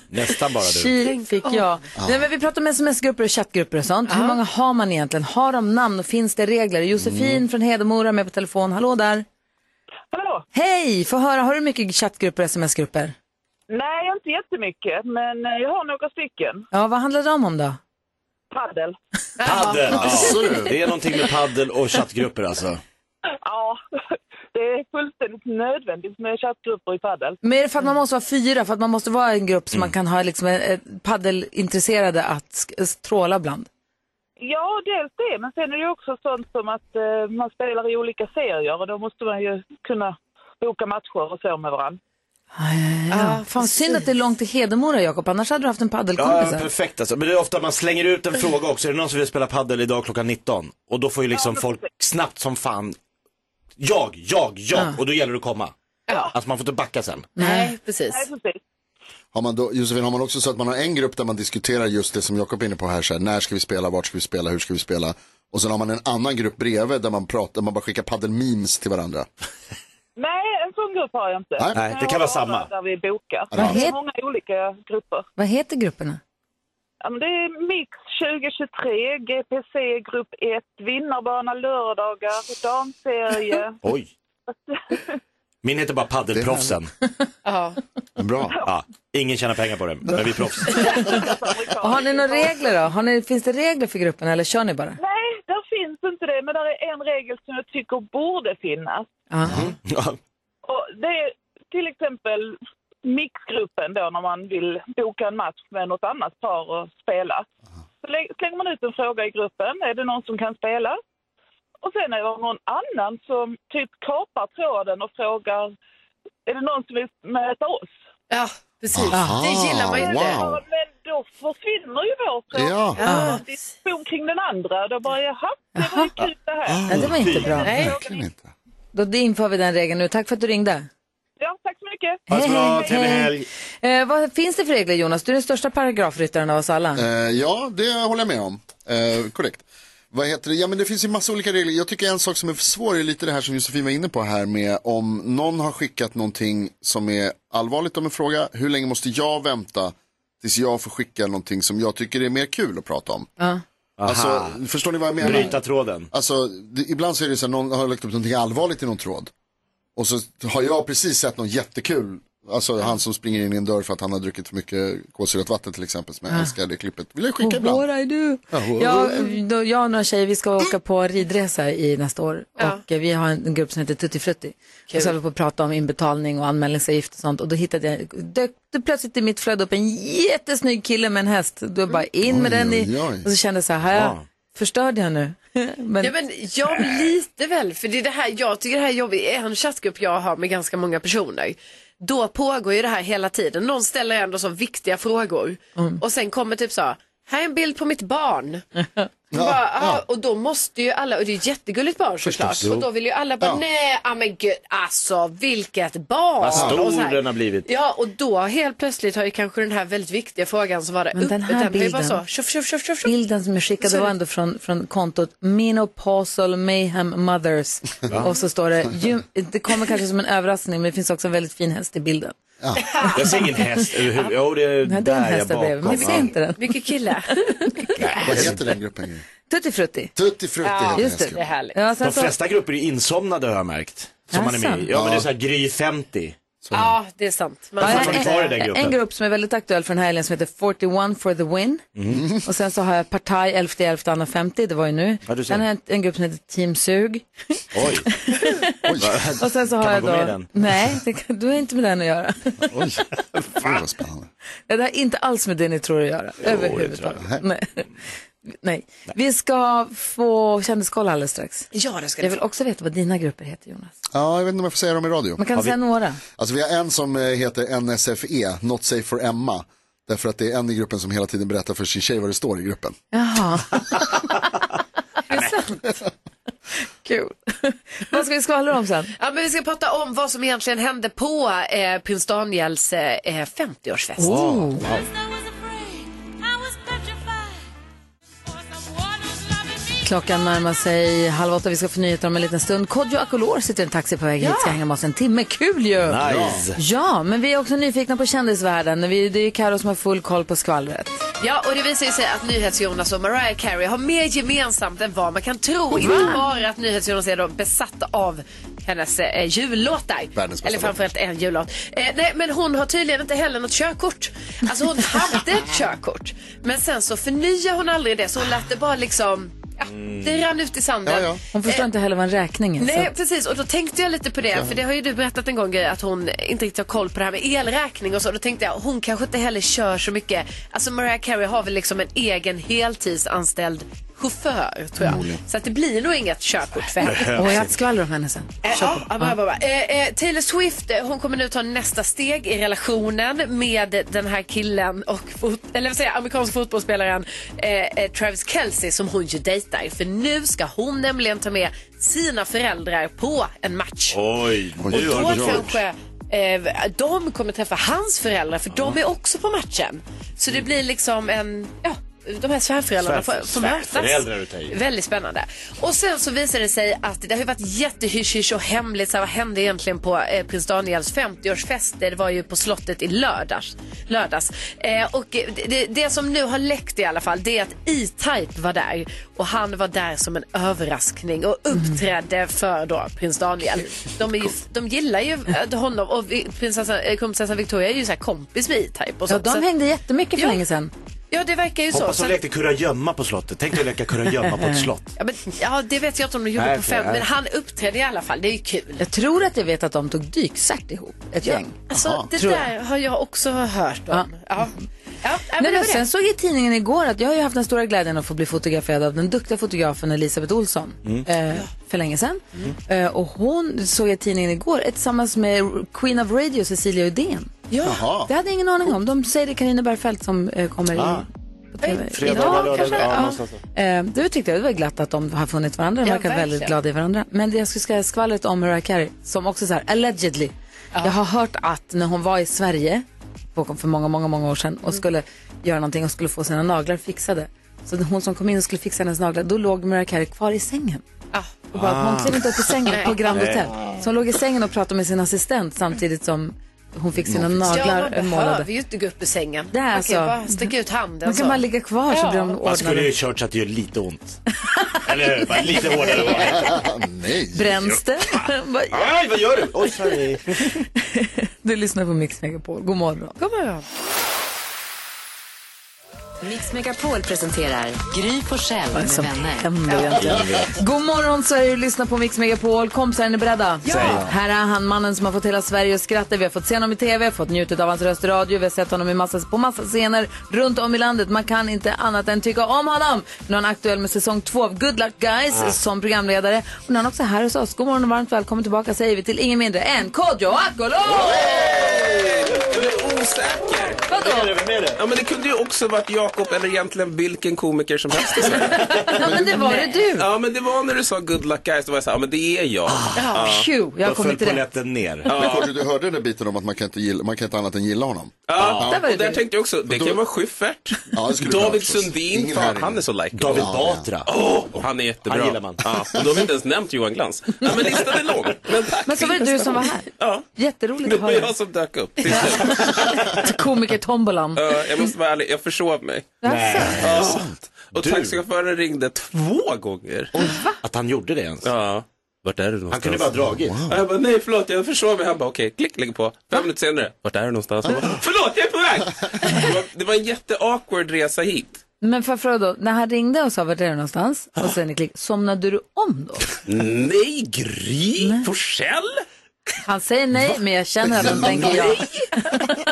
Speaker 8: Nästan bara du.
Speaker 2: Kil fick jag. Nej, men vi pratar om sms-grupper och chattgrupper och sånt. Hur många har man egentligen? Har de namn och finns det regler? Josefin från Hedemora är med på telefon. Hallå där.
Speaker 12: Hallå.
Speaker 2: Hej! Få höra, har du mycket chattgrupper och sms-grupper?
Speaker 12: Nej, inte jättemycket, men eh, jag har några stycken.
Speaker 2: Ja, vad handlar de om då?
Speaker 12: Paddel.
Speaker 8: Paddel,
Speaker 12: Ja.
Speaker 8: ja. det är någonting med paddel och chattgrupper alltså.
Speaker 12: Ja, det är fullständigt nödvändigt med chattgrupper i paddel.
Speaker 2: Men är det för att man måste vara fyra, för att man måste vara en grupp som man kan ha liksom eh, paddelintresserade att sk- eh, stråla bland?
Speaker 12: Ja, dels det, men sen är det ju också sånt som att eh, man spelar i olika serier och då måste man ju kunna boka matcher och så med varandra.
Speaker 2: Ja, Ah, fan, synd att det är långt till Hedemora, Jakob, annars hade du haft en
Speaker 8: Ja,
Speaker 2: paddelkompis här.
Speaker 8: perfekt alltså. Men det är ofta man slänger ut en fråga också. Är det någon som vill spela paddel idag klockan 19? Och då får ju liksom folk snabbt som fan, jag, jag, jag. Och då gäller det att komma. Alltså man får inte backa sen.
Speaker 4: Nej, precis.
Speaker 3: Har man då, Josefin, har man också så att man har en grupp där man diskuterar just det som Jakob är inne på här, så här, när ska vi spela, vart ska vi spela, hur ska vi spela? Och sen har man en annan grupp bredvid där man pratar, man bara skickar paddelmemes till varandra.
Speaker 12: Nej, en sån grupp har jag inte.
Speaker 3: Nej,
Speaker 12: Men
Speaker 3: det kan
Speaker 12: jag
Speaker 3: vara
Speaker 12: har några
Speaker 3: samma.
Speaker 12: Där vi bokar.
Speaker 3: Vad
Speaker 12: Det är
Speaker 2: het-
Speaker 12: många olika grupper.
Speaker 2: Vad heter grupperna?
Speaker 12: Ja, men det är Mix 2023, GPC Grupp 1, Vinnarbana lördagar, damserie.
Speaker 8: Oj. Min heter bara paddelproffsen.
Speaker 4: Ja.
Speaker 8: Bra. Ja, ingen tjänar pengar på det, men vi är proffs.
Speaker 2: Och har ni några regler då? Har ni, finns det regler för grupperna eller kör ni bara?
Speaker 12: Nej, där finns inte det, men där är en regel som jag tycker borde finnas.
Speaker 8: Ja.
Speaker 12: Och det är till exempel mixgruppen då när man vill boka en match med något annat par och spela. Så lä- slänger man ut en fråga i gruppen, är det någon som kan spela? Och sen är det någon annan som typ kapar tråden och frågar, är det någon som vill möta oss?
Speaker 4: Ja, precis.
Speaker 3: Aha,
Speaker 4: det gillar man ju inte.
Speaker 3: wow.
Speaker 12: Ja, men då försvinner ju vår fråga.
Speaker 3: Ja.
Speaker 12: Det är en diskussion kring den andra. Då bara, jaha, det var ju kul det här.
Speaker 2: Ja, det var inte bra.
Speaker 12: Nej.
Speaker 3: Verkligen inte.
Speaker 2: Då inför vi den regeln nu. Tack för att du ringde.
Speaker 12: Ja, tack så mycket.
Speaker 2: Ha det så bra, Hej, trevlig hej. helg. Eh, vad finns det för regler Jonas? Du är den största paragrafryttaren av oss alla.
Speaker 3: Eh, ja, det håller jag med om. Eh, korrekt. Vad heter det? Ja, men det finns ju massa olika regler. Jag tycker en sak som är svår är lite det här som Josefin var inne på här med om någon har skickat någonting som är allvarligt om en fråga. Hur länge måste jag vänta tills jag får skicka någonting som jag tycker är mer kul att prata om?
Speaker 2: Ja.
Speaker 3: Alltså, förstår ni vad jag menar?
Speaker 8: Bryta tråden.
Speaker 3: Alltså, det, ibland så är det så att någon har lagt upp någonting allvarligt i någon tråd. Och så har jag precis sett någon jättekul Alltså han som springer in i en dörr för att han har druckit för mycket kolsyrat vatten till exempel som jag
Speaker 2: Ja. Oh,
Speaker 3: älskar det klippet. Vill jag skicka ibland?
Speaker 2: What I do.
Speaker 3: Ja,
Speaker 2: Jag, då, jag och några tjejer, vi ska åka på ridresa i nästa år.
Speaker 4: Ja.
Speaker 2: Och eh, vi har en, en grupp som heter Tutti Frutti.
Speaker 4: Kul.
Speaker 2: Och så höll vi på att prata om inbetalning och anmälningsavgift och sånt. Och då hittade jag, dök det plötsligt i mitt flöde upp en jättesnygg kille med en häst. Då bara in med
Speaker 4: Oj,
Speaker 2: den i,
Speaker 4: oj, oj.
Speaker 2: och så kände jag så här, har jag,
Speaker 4: Ja.
Speaker 2: förstörde jag nu? men,
Speaker 4: Ja, men jag lite väl, för det är det här, jag tycker det här är jobbigt. I en chattgrupp jag har med ganska många personer, då pågår ju det här hela tiden. Någon ställer ändå så viktiga frågor
Speaker 2: Mm.
Speaker 4: och sen kommer typ så här, här är en bild på mitt barn. Och bara, "Ah", Och då måste ju alla, och det är ett jättegulligt barn såklart,
Speaker 8: Förstås.
Speaker 4: och då vill ju alla bara,
Speaker 8: Ja.
Speaker 4: nej, ah, men gud, alltså vilket barn.
Speaker 8: Vad
Speaker 4: och så
Speaker 8: stor
Speaker 4: här.
Speaker 8: den har blivit.
Speaker 4: Ja, och då helt plötsligt har ju kanske den här väldigt viktiga frågan som var där
Speaker 2: men
Speaker 4: uppe,
Speaker 2: den här
Speaker 4: var ju bara
Speaker 2: bilden,
Speaker 4: så, tjoff, tjoff, tjoff, tjoff, tjoff.
Speaker 2: bilden som jag
Speaker 4: Så
Speaker 2: skickade
Speaker 4: är
Speaker 2: var
Speaker 4: det-
Speaker 2: ändå från, från kontot Menopausal Mayhem Mothers.
Speaker 8: Va?
Speaker 2: Och så står det, "Gym- det kommer kanske som en överraskning, men det finns också en väldigt fin häst i bilden.
Speaker 8: Jag ser ingen häst överhuvudtaget. Jo, det
Speaker 2: Nej,
Speaker 8: är
Speaker 2: det är en
Speaker 8: där
Speaker 2: häst
Speaker 8: jag
Speaker 2: där bredvid, men
Speaker 8: bakom.
Speaker 2: vi ser inte den.
Speaker 4: Mycket kille.
Speaker 3: Vad heter den gruppen?
Speaker 2: Tutti Frutti.
Speaker 3: Tutti Frutti
Speaker 2: Ja,
Speaker 3: heter
Speaker 2: just det.
Speaker 3: den gruppen.
Speaker 2: Det är härligt. Ja, sen
Speaker 8: De
Speaker 2: så- alltså-
Speaker 8: flesta grupper är insomnade har jag märkt. Som man är med i.
Speaker 2: Jaså?
Speaker 8: Ja, men det är så här Gry 50.
Speaker 4: Ja, det är sant.
Speaker 8: Man är fortfarande kvar i den
Speaker 2: en,
Speaker 8: gruppen.
Speaker 2: en grupp som är väldigt aktuell för den här helgen som heter 41 for the win.
Speaker 8: Mm.
Speaker 2: Och sen så har jag Partaj 11.11.50, det var ju nu.
Speaker 8: Ja, du ser.
Speaker 2: sen har jag en, en grupp som heter Team Sug.
Speaker 8: Oj. Oj.
Speaker 2: Och sen så har
Speaker 8: kan
Speaker 2: jag
Speaker 8: man gå med i
Speaker 2: då...
Speaker 8: den?
Speaker 2: Nej, det kan, du har inte med den att göra.
Speaker 3: Oj, Gud, vad spännande.
Speaker 2: Ja, Det har inte alls med det ni tror att göra.
Speaker 3: Jo, det
Speaker 2: överhuvudtaget.
Speaker 3: tror jag.
Speaker 2: Nej. Nej. Vi ska få kändiskoll alldeles strax.
Speaker 4: Ja, det ska
Speaker 2: jag
Speaker 4: ni
Speaker 2: vill också veta vad dina grupper heter, Jonas.
Speaker 3: Ja, jag vet inte om jag får säga dem i radio.
Speaker 2: Man kan säga några.
Speaker 3: Alltså vi har en som eh, heter NSFE, E, Not Safe for Emma. Därför att det är en i gruppen som hela tiden berättar för sin tjej vad det står i gruppen.
Speaker 2: Jaha. det är sant. Kul. Vad ska vi skvallra om sen?
Speaker 4: Ja, men vi ska prata om vad som egentligen hände på eh, prins Daniels eh, 50-årsfest.
Speaker 11: Oh, wow.
Speaker 2: Klockan närmar sig halv åtta. Vi ska få nyheter om en liten stund. Kodjo Akolor sitter i en taxi på väg hit. Ska hänga med oss en timme. Kul ju!
Speaker 4: Nice.
Speaker 2: Ja, men vi är också nyfikna på kändisvärlden. Vi, det är ju Karo som har full koll på skvallret.
Speaker 4: Ja, och det visar ju sig att NyhetsJonas och Mariah Carey har mer gemensamt än vad man kan tro.
Speaker 3: Mm.
Speaker 4: Inte bara att NyhetsJonas är då besatt av hennes eh, jullåtar.
Speaker 3: Världens bästa
Speaker 4: Eller framförallt en jullåt. Eh, nej, men hon har tydligen inte heller något körkort. Alltså hon hade ett körkort. Men sen så förnyade hon aldrig det, så hon lät det bara liksom... Ja, det rann ut i sanden.
Speaker 2: Hon förstår inte heller vad en räkning är. så
Speaker 4: Nej,
Speaker 2: att-
Speaker 4: precis. Och då tänkte jag lite på det. För det har ju du berättat en gång, Gry, att hon inte riktigt har koll på det här med elräkning och så. Då tänkte jag, hon kanske inte heller kör så mycket. Alltså Mariah Carey har väl liksom en egen heltidsanställd chaufför, tror jag.
Speaker 2: Förmodligen.
Speaker 4: Så att det blir nog inget körkort för henne.
Speaker 2: Och jag har ett skvaller om henne sen.
Speaker 4: Eh, Ja, ja, bara, bara, bara. Eh, eh, Taylor Swift eh, hon kommer nu ta nästa steg i relationen med den här killen och fot- eller vad säger, jag, amerikansk fotbollsspelaren eh, eh, Travis Kelce som hon ju dejtar. För nu ska hon nämligen ta med sina föräldrar på en match.
Speaker 8: Oj,
Speaker 4: och
Speaker 8: nu
Speaker 4: då
Speaker 8: har du
Speaker 4: kanske eh, de kommer träffa hans föräldrar för de är också på matchen. Så det blir liksom en, ja, de här svärföräldrarna får, får mötas.
Speaker 8: Svärföräldrar utav i.
Speaker 4: Väldigt spännande. Och sen så visar det sig att det har ju varit jättehysch och hemligt. Så här, vad hände egentligen på eh, prins Daniels 50-årsfest? Det var ju på slottet i lördags. lördags. Eh, och eh, det- det, det som nu har läckt i alla fall det är att E-Type var där. Och han var där som en överraskning och uppträdde för då prins Daniel. De, är ju, de gillar ju eh, honom och vi- prinsessan, eh, kronprinsessan Victoria är ju så här kompis med E-Type. och
Speaker 2: Ja,
Speaker 4: sånt.
Speaker 2: de
Speaker 4: Så-
Speaker 2: hängde jättemycket för länge sedan.
Speaker 4: Ja, det verkar ju så.
Speaker 8: Hoppas
Speaker 4: så.
Speaker 8: hon
Speaker 4: att-
Speaker 8: lekte kurragömma på slottet. Tänk dig att leka kurragömma på ett slott.
Speaker 4: Eh, Ja, men, ja, det vet jag inte om de gjorde
Speaker 8: Nej,
Speaker 4: på
Speaker 8: okej,
Speaker 4: fem,
Speaker 8: nej.
Speaker 4: men han uppträdde i alla fall. Det är ju kul.
Speaker 2: Jag tror att jag vet att de tog dykcert ihop, ett
Speaker 4: Ja,
Speaker 2: gäng.
Speaker 4: Alltså, det
Speaker 2: Tror jag.
Speaker 4: där har jag också hört om.
Speaker 2: Ja.
Speaker 4: Ja. Ja. men
Speaker 2: Nej,
Speaker 4: det
Speaker 2: men
Speaker 4: var det.
Speaker 2: sen såg jag i tidningen igår att jag har ju haft den stora glädjen att få bli fotograferad av den duktiga fotografen Elisabeth Olsson
Speaker 4: Mm.
Speaker 2: eh, för länge sedan. Eh, och hon såg jag i tidningen igår eh, tillsammans med Queen of Radio Cecilia Uddén.
Speaker 3: Jaha.
Speaker 2: Det hade jag ingen aning om. De säger det är Carina Bergfeldt som eh, kommer
Speaker 3: Ah.
Speaker 2: i, på TV.
Speaker 3: Fredag,
Speaker 2: Idag,
Speaker 3: lördag,
Speaker 2: kanske?
Speaker 3: ja,
Speaker 2: Ja.
Speaker 3: någonstans
Speaker 2: Eh, det tyckte jag det var glatt att de har funnit varandra. De
Speaker 4: Ja,
Speaker 2: verkar väldigt
Speaker 4: verkligen.
Speaker 2: glada i varandra. Men det jag skulle säga skvallret om Mariah Carey, som också så här, allegedly. Jag har hört att när hon var i Sverige på- för många, många, många år sedan
Speaker 4: Mm.
Speaker 2: och skulle göra någonting och skulle få sina naglar fixade. Så när hon som kom in och skulle fixa hennes naglar, då låg Mariah Carey kvar i sängen. Och bara,
Speaker 4: Ah.
Speaker 2: Hon klev inte upp ur sängen på
Speaker 4: Nej.
Speaker 2: Grand
Speaker 4: Nej.
Speaker 2: Hotel. Så hon låg i sängen och pratade med sin assistent samtidigt som hon fick sina
Speaker 4: ja,
Speaker 2: naglar
Speaker 4: man
Speaker 2: eh,
Speaker 4: behöver
Speaker 2: målade.
Speaker 4: ju inte gå upp ur sängen.
Speaker 2: Det är
Speaker 4: man
Speaker 2: alltså-
Speaker 4: kan ju bara sticka ut handen.
Speaker 2: Man kan
Speaker 4: så.
Speaker 2: bara ligga kvar så blir de
Speaker 8: Man skulle ju
Speaker 2: ordnade.
Speaker 8: ha kört så att det gör lite ont. Eller hur? Bara Lite hårdare bara.
Speaker 3: Nej.
Speaker 2: Bränns det? Bara,
Speaker 8: Aj, vad gör du? Oj, sorry.
Speaker 2: Du lyssnar på Mix Megapol. God morgon. God morgon.
Speaker 13: Mix Megapol presenterar Gry på själv med vänner.
Speaker 2: händer egentligen? God morgon Sverige, du lyssnar på Mix Megapol. Kompisar, är ni beredda?
Speaker 13: Ja! Säg.
Speaker 2: Här är han, mannen som har fått hela Sverige att skratta. Vi har fått se honom i TV, vi har fått njutit av hans röst i radio, vi har sett honom i massa, på massa scener runt om i landet. Man kan inte annat än tycka om honom. Nu är han aktuell med säsong två av Good Luck Guys
Speaker 13: Ah.
Speaker 2: som programledare. Och nu är han också här hos oss. God morgon och varmt välkommen tillbaka säger vi till ingen mindre än Kodjo Akolo!
Speaker 14: Du är osäker.
Speaker 2: Vadå?
Speaker 14: Ja, men det kunde ju också varit Jakob eller egentligen vilken komiker som helst. i Sverige.
Speaker 2: Ja, men det var det du.
Speaker 14: Ja, men det var när du sa good luck guys, då var jag så här, ja men det är jag.
Speaker 2: Ja, ah, phew, jag har Då kommit föll till rätt.
Speaker 8: polletten ner.
Speaker 3: Men Kodjo, du hörde den där biten om att man kan inte, gilla, man kan inte annat än gilla honom.
Speaker 14: Ja,
Speaker 3: Där var
Speaker 14: och där tänkte jag också, det kan vara Schyffert, David Sundin,
Speaker 3: Ingen
Speaker 14: fan,
Speaker 3: här inne.
Speaker 14: han är så likeable.
Speaker 3: David
Speaker 8: Batra.
Speaker 14: Åh, han är jättebra.
Speaker 8: Han gillar man.
Speaker 14: Ja, och då har vi inte ens nämnt Johan Glans. Ja, men listan är lång. Men tack.
Speaker 2: Men så var det du som var här.
Speaker 14: Ja.
Speaker 2: Jätteroligt
Speaker 14: Det
Speaker 2: att
Speaker 14: var
Speaker 2: höra.
Speaker 14: jag som dök upp.
Speaker 2: Komiker-tombolan.
Speaker 14: Ja, jag måste vara ärlig, jag försov mig.
Speaker 2: Nej,
Speaker 14: är det sant? Och taxichauffören ringde två gånger.
Speaker 8: Att han gjorde det ens?
Speaker 14: Ja. Vart är du någonstans?
Speaker 8: kunde bara dragit. Wow.
Speaker 14: Ja, Jag bara, nej förlåt, jag försov mig. Han bara, okej, klick, lägg på. Fem minuter senare, vart är du någonstans? Jag bara, förlåt, jag är på väg! Det var, det var en jätteawkward resa hit.
Speaker 2: Men för fråga då, när han ringde och sa vart är du någonstans? Och sen i klick, somnade du om då?
Speaker 14: Nej, Gry Forssell!
Speaker 2: Han säger nej, men jag känner att han tänker ja.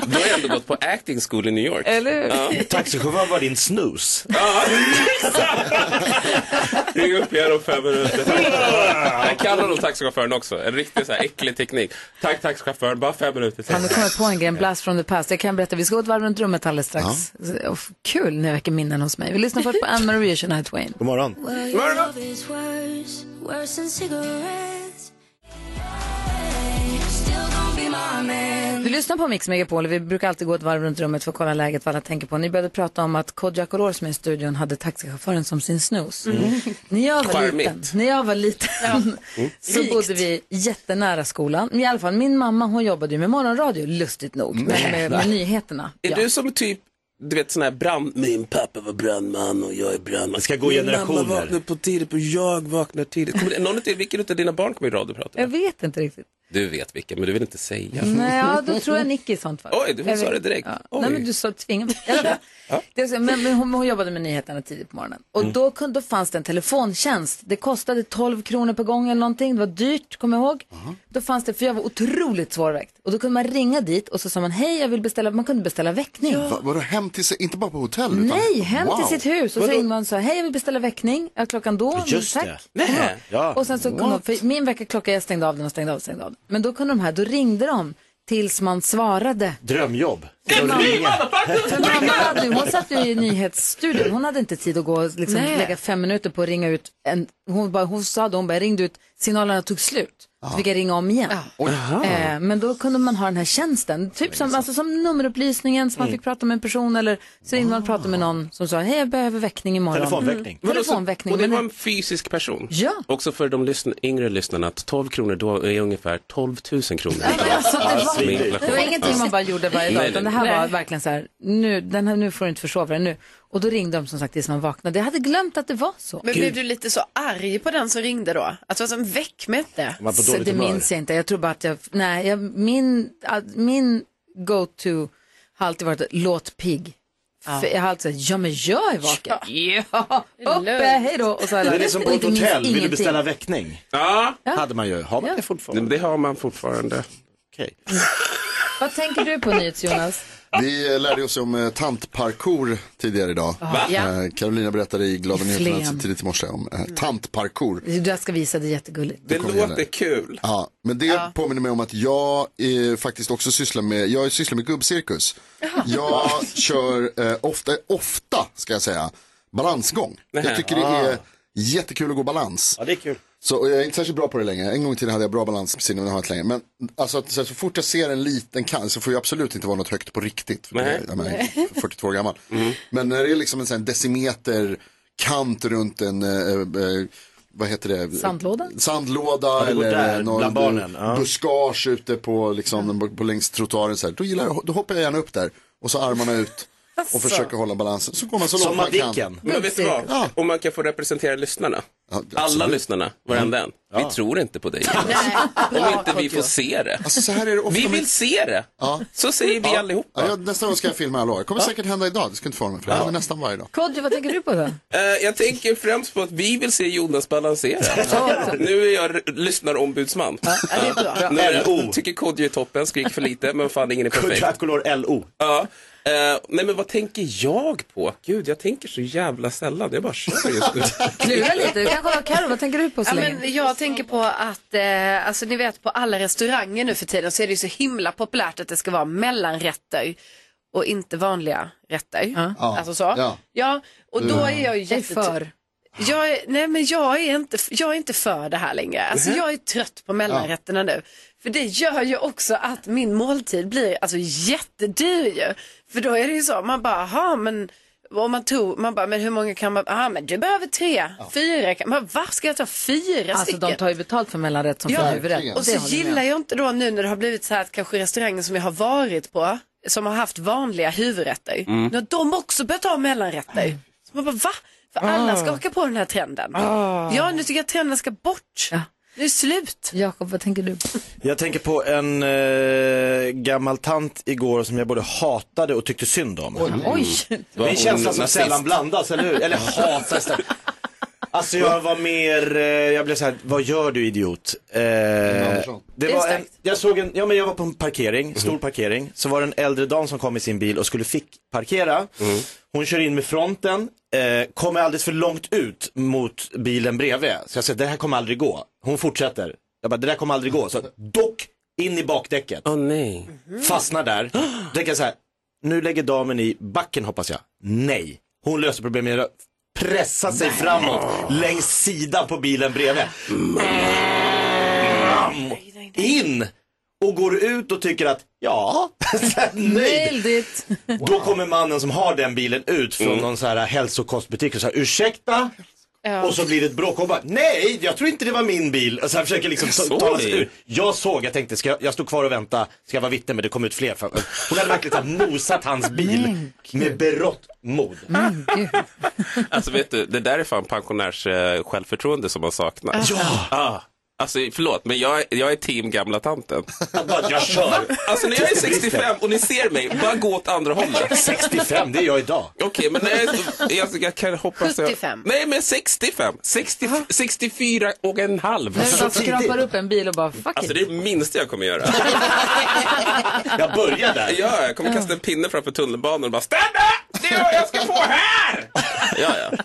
Speaker 14: Du har ändå gått på acting school i New York.
Speaker 2: Eller hur?
Speaker 14: Ja.
Speaker 8: Taxichauffören var din snus.
Speaker 14: Ring upp igen om fem minuter. Jag kallar nog taxichauffören också. En riktigt så här äcklig teknik. Tack taxichauffören, bara fem minuter
Speaker 2: Han
Speaker 14: senare.
Speaker 2: har kommit på en grej, en blast from the past. Jag kan berätta, vi ska gå ett varv runt rummet alldeles strax. Och f- Kul när jag väcker minnen hos mig. Vi lyssnar först på Anne Marie och Shania Twain.
Speaker 8: God morgon.
Speaker 11: Well, your love is worse, worse than cigarettes. Still gonna be my man.
Speaker 2: Du lyssnar på Mix Megapol och vi brukar alltid gå ett varv runt rummet för att kolla läget, vad alla tänker på. Ni började prata om att Kodjo Akolor som är i studion hade taxichauffören som sin snus.
Speaker 13: Mm.
Speaker 2: När jag var
Speaker 13: Charmigt.
Speaker 2: liten, när jag var liten
Speaker 8: Mm.
Speaker 2: så bodde vi jättenära skolan. Men I alla fall min mamma hon jobbade ju med morgonradio, lustigt nog, men med, med nyheterna.
Speaker 14: Är du som typ, du vet sån här brand... Min pappa var brandman och jag är brandman.
Speaker 8: Det ska gå
Speaker 14: Min mamma
Speaker 8: generationer.
Speaker 14: vaknar på tidigt och jag vaknar tidigt. Kommer det, någon av, vilken av dina barn kommer i radio prata?
Speaker 2: Jag vet inte riktigt.
Speaker 14: Du vet vilken, men du vill inte säga.
Speaker 2: Nej, ja, då tror jag Nicky i sånt fall.
Speaker 14: Oj, du
Speaker 2: Jag
Speaker 14: sa
Speaker 2: vet-
Speaker 14: det direkt.
Speaker 2: Ja.
Speaker 14: Oj.
Speaker 2: Nej, men du sa tvinga mig. I alla fall. Det är så- Men, men hon, hon jobbade med nyheterna tidigt på morgonen. Och
Speaker 14: Mm.
Speaker 2: då, kunde, då fanns det en telefontjänst. Det kostade 12 kronor per gång eller någonting. Det var dyrt, kommer jag ihåg. Då fanns det, för jag var otroligt svårväckt. Och då kunde man ringa dit och så sa man hej, jag vill beställa, man kunde beställa väckning.
Speaker 3: Va, vadå hem till sig, inte bara på hotell? Utan,
Speaker 2: Nej, hem
Speaker 3: Wow.
Speaker 2: till sitt hus. Och så
Speaker 3: Vadå?
Speaker 2: ringde man och sa, hej jag vill beställa väckning. Ja, klockan då,
Speaker 3: Just
Speaker 2: tack.
Speaker 3: det.
Speaker 2: Kom
Speaker 3: Nej.
Speaker 2: då.
Speaker 3: Ja.
Speaker 2: Och sen så kom de,
Speaker 3: What?
Speaker 2: för min väckarklocka, jag stängde av den och stängde av och stängde av den. Men då kunde de här, då ringde de tills man svarade.
Speaker 8: Drömjobb.
Speaker 2: För mamma hade, ju- hon satt ju i nyhetsstudion, hon hade inte tid att gå och liksom
Speaker 13: Nej.
Speaker 2: lägga fem minuter på att ringa ut. En, hon, bara, hon sa då, hon bara, jag ringde ut, signalerna tog slut. Så fick jag ringa om igen. Eh, men då kunde man ha den här tjänsten, typ som, alltså, som nummerupplysningen, så man
Speaker 13: Mm.
Speaker 2: fick prata med en person eller så ringde man och pratade med någon som sa, hej jag behöver väckning imorgon.
Speaker 14: Telefonväckning.
Speaker 2: Mm.
Speaker 14: Vadå, så-
Speaker 2: Telefonväckning.
Speaker 14: alltså, Och det
Speaker 2: men-
Speaker 14: var en fysisk person.
Speaker 2: Ja.
Speaker 14: Också för de lyssn- yngre lyssnarna, att 12 kronor då är ungefär 12 000 kronor.
Speaker 2: Alltså, det,
Speaker 14: Alltså, med
Speaker 2: var,
Speaker 14: inflation.
Speaker 2: det var ingenting man bara gjorde varje dag,
Speaker 14: Nej,
Speaker 2: utan det
Speaker 14: nej,
Speaker 2: här
Speaker 14: nej.
Speaker 2: var verkligen så här, nu, den här, nu får du inte försova dig nu. Och då ringde de som sagt tills man vaknade. Jag hade glömt att det var så.
Speaker 4: Men blev du lite så arg på den som ringde då? Att det var som väck med det.
Speaker 2: Man på Så dåligt det humör. minns jag inte. Jag tror bara att jag, nej, jag, min, att- min go-to har alltid varit låt pigg. För jag har alltid sagt, ja men jag är vaken. Ja, uppe, hej då. Och så har jag
Speaker 8: Det är
Speaker 2: lagt-
Speaker 8: liksom
Speaker 2: och
Speaker 8: på ett
Speaker 2: inte minns
Speaker 8: hotell, vill du
Speaker 2: ingenting.
Speaker 8: beställa väckning?
Speaker 14: Ja.
Speaker 8: Hade man ju. Har man det fortfarande?
Speaker 14: Det har man fortfarande.
Speaker 8: Okej.
Speaker 2: Vad tänker du på nyhets Jonas?
Speaker 3: Vi eh, lärde oss om eh, tantparkour tidigare idag.
Speaker 2: Va? Ja.
Speaker 3: Eh, Carolina berättade i Glada
Speaker 2: I Flen.
Speaker 3: nyheterna tidigt i morse om eh, tantparkour.
Speaker 2: Jag ska visa det jättegulligt.
Speaker 3: Det kommer låter gälla.
Speaker 14: kul.
Speaker 3: Ja, men det påminner mig om att jag eh, faktiskt också sysslar med, jag sysslar med gubbcirkus. Jag kör eh, ofta, ofta ska jag säga, balansgång.
Speaker 8: Nähä.
Speaker 3: Jag tycker det
Speaker 8: Ah.
Speaker 3: är jättekul att gå balans.
Speaker 8: Ja, det är kul.
Speaker 3: Så och jag är inte särskilt bra på det längre. En gång i tiden hade jag bra balans på sidan, men det har jag inte längre. Men alltså, att, så, här, så fort jag ser en liten kant så får jag absolut inte vara något högt på riktigt. För
Speaker 14: Nej.
Speaker 3: det, jag menar, 42 år gammal.
Speaker 8: Mm.
Speaker 3: Men när det är liksom en sån här decimeter kant runt en, eh, eh, vad heter det?
Speaker 2: Sandlåda?
Speaker 3: Sandlåda
Speaker 8: Ja, det går
Speaker 3: eller
Speaker 8: där,
Speaker 3: någon
Speaker 8: bland barnen,
Speaker 3: eh, buskage ute på, liksom, på, på längs trottoaren. Så här. Då, gillar jag, då hoppar jag gärna upp där och så armarna ut. Och
Speaker 14: Asså.
Speaker 2: Mm.
Speaker 3: försöker hålla balansen. Så går man så långt man kan.
Speaker 14: Men vet du vad? Om man kan få representera lyssnarna. Alla lyssnarna, varenda en. Vi tror inte på dig. Om inte vi får se det.
Speaker 3: Alltså, så här är det ofta
Speaker 14: vi
Speaker 3: med-
Speaker 14: vill se det. Så säger vi
Speaker 3: Ja.
Speaker 14: allihopa.
Speaker 3: Ja, jag, nästa gång ska jag filma alla år. kommer säkert hända idag, det ska inte förvåna mig för det händer nästan varje dag.
Speaker 2: Kodjo, vad tänker du på då?
Speaker 14: Eh, jag tänker främst på att vi vill se Jonas balansera. nu är jag r- lyssnarombudsman.
Speaker 8: bra.
Speaker 14: Nu är
Speaker 8: LO.
Speaker 14: jag, tycker Kodjo är toppen, skrik för lite, men fan ingen är perfekt.
Speaker 8: Kodjo LO.
Speaker 14: Ja. Eh, nej men vad tänker jag på? Gud, jag tänker så jävla sällan. Jag bara kör just nu.
Speaker 2: Klura lite. Du kan kolla Karo, vad tänker du på så
Speaker 4: Ja,
Speaker 2: länge?
Speaker 4: men jag tänker på att, eh, alltså ni vet på alla restauranger nu för tiden så är det ju så himla populärt att det ska vara mellanrätter och inte vanliga rätter.
Speaker 15: Ja.
Speaker 4: Alltså så.
Speaker 15: Ja.
Speaker 4: Ja. och då är jag ju
Speaker 15: Jag är
Speaker 4: jättet-
Speaker 15: för.
Speaker 4: Jag är, nej men jag är, inte, jag är inte för det här längre. Alltså
Speaker 15: Mhm.
Speaker 4: jag är trött på mellanrätterna nu. För det gör ju också att min måltid blir alltså jättedyr ju. För då är det ju så, man bara, aha, men om man tror, man bara, men hur många kan man, ah men du behöver tre, fyra, kan, men varför ska jag ta fyra
Speaker 2: Alltså
Speaker 4: stycken?
Speaker 2: de tar ju betalt för mellanrätt som för huvudrätt.
Speaker 4: Och så gillar jag inte då nu när det har blivit så här att kanske restauranger som jag har varit på, som har haft vanliga huvudrätter,
Speaker 2: Mm.
Speaker 4: nu har de också börjat ha mellanrätter. Så man bara, va? För alla
Speaker 2: Ah.
Speaker 4: ska haka på den här trenden.
Speaker 2: Ah.
Speaker 4: Ja, nu tycker jag trenden ska bort. Nu är det slut.
Speaker 2: Jakob, vad tänker du på?
Speaker 8: Jag tänker på en eh, gammal tant igår som jag både hatade och tyckte synd om.
Speaker 2: Oj. Oj.
Speaker 8: Det är en känsla som
Speaker 14: Nazist.
Speaker 8: sällan blandas, eller hur? Eller hatas. det. Alltså jag var mer, eh, jag blev så här, vad gör du idiot? Eh,
Speaker 3: Andersson.
Speaker 8: det
Speaker 3: är
Speaker 8: var en,
Speaker 3: starkt.
Speaker 8: jag såg en, ja men jag var på en parkering, stor parkering, så var det en äldre dam som kom i sin bil och skulle fick parkera. Hon kör in med fronten, eh, kommer alldeles för långt ut mot bilen bredvid. Så jag säger, det här kommer aldrig gå. Hon fortsätter. Jag bara, det där kommer aldrig gå. Så dock, in i bakdäcket. Mm-hmm.
Speaker 14: Åh nej.
Speaker 8: Fastnar där. Då tänker jag så här, nu lägger damen i backen hoppas jag. Nej, hon löser problemet med att pressa sig framåt längs sidan på bilen bredvid. Bam! In! Och går ut och tycker att, ja, så här, nöjd.
Speaker 2: Väldigt.
Speaker 8: Då kommer mannen som har den bilen ut från
Speaker 14: Mm.
Speaker 8: någon så här hälsokostbutik och säger ursäkta? Och så blir det ett bråk och bara, nej jag tror inte det var min bil. Och så här försöker liksom
Speaker 14: Jag
Speaker 8: ta-
Speaker 14: såg
Speaker 8: tala sig
Speaker 14: det.
Speaker 8: ur. Jag såg, jag tänkte, ska jag, jag stod kvar och vänta, ska jag vara vittne men det kom ut fler. För, hon hade verkligen så här mosat hans bil med berått mod.
Speaker 14: Alltså vet du, det där är fan pensionärs eh, självförtroende som man saknar.
Speaker 8: Ja!
Speaker 14: Ah. Alltså förlåt, men jag, jag är team gamla tanten.
Speaker 8: Jag kör!
Speaker 14: Alltså när jag är 65 och ni ser mig, bara gå åt andra hållet.
Speaker 8: 65, det är jag idag.
Speaker 14: Okej, men när jag, är- jag, jag kan hoppas... jag-
Speaker 2: 75.
Speaker 14: Nej, men 65. 60, 64 och en halv.
Speaker 2: När du bara skrapar upp en bil och bara fuck
Speaker 14: Alltså det är det minsta jag kommer göra.
Speaker 8: jag börjar där.
Speaker 14: Ja, jag kommer kasta en pinne framför tunnelbanan och bara stanna! Det är vad jag ska få här! Ja, ja.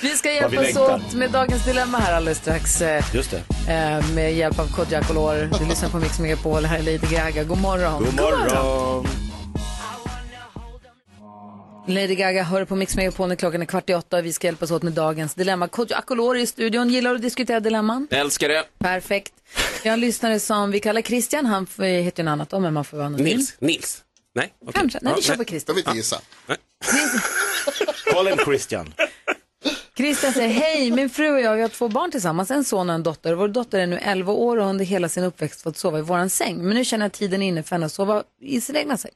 Speaker 2: Vi ska
Speaker 14: Vad vi
Speaker 2: hjälpas
Speaker 14: längtar.
Speaker 2: åt med dagens dilemma här alldeles strax. eh,
Speaker 8: Just det.
Speaker 2: eh, Med hjälp av Kodjo Akolor. Du lyssnar på Mix Megapol. Här är Lady Gaga. God morgon.
Speaker 8: God morgon.
Speaker 2: Lady Gaga hör på Mix Megapol när klockan är kvart i åtta. och Vi ska hjälpas åt med dagens dilemma. Kodjo Akolor är i studion. Gillar du att diskutera dilemman?
Speaker 14: Jag älskar det.
Speaker 2: Perfekt. Vi har en lyssnare som vi kallar Christian. Han f- heter ju något annat då, men man får vara anonym.
Speaker 14: Nils. Nils. Nej, okej.
Speaker 2: Kanske. Nej, vi kör på Christian.
Speaker 3: Jag vill inte gissa.
Speaker 8: Call him Christian.
Speaker 2: Christian säger, hej, min fru och jag vi har två barn tillsammans, en son och en dotter. Vår dotter är nu 11 år och har under hela sin uppväxt fått sova i våran säng. Men nu känner jag att tiden är inne för henne att sova i sin egna säng.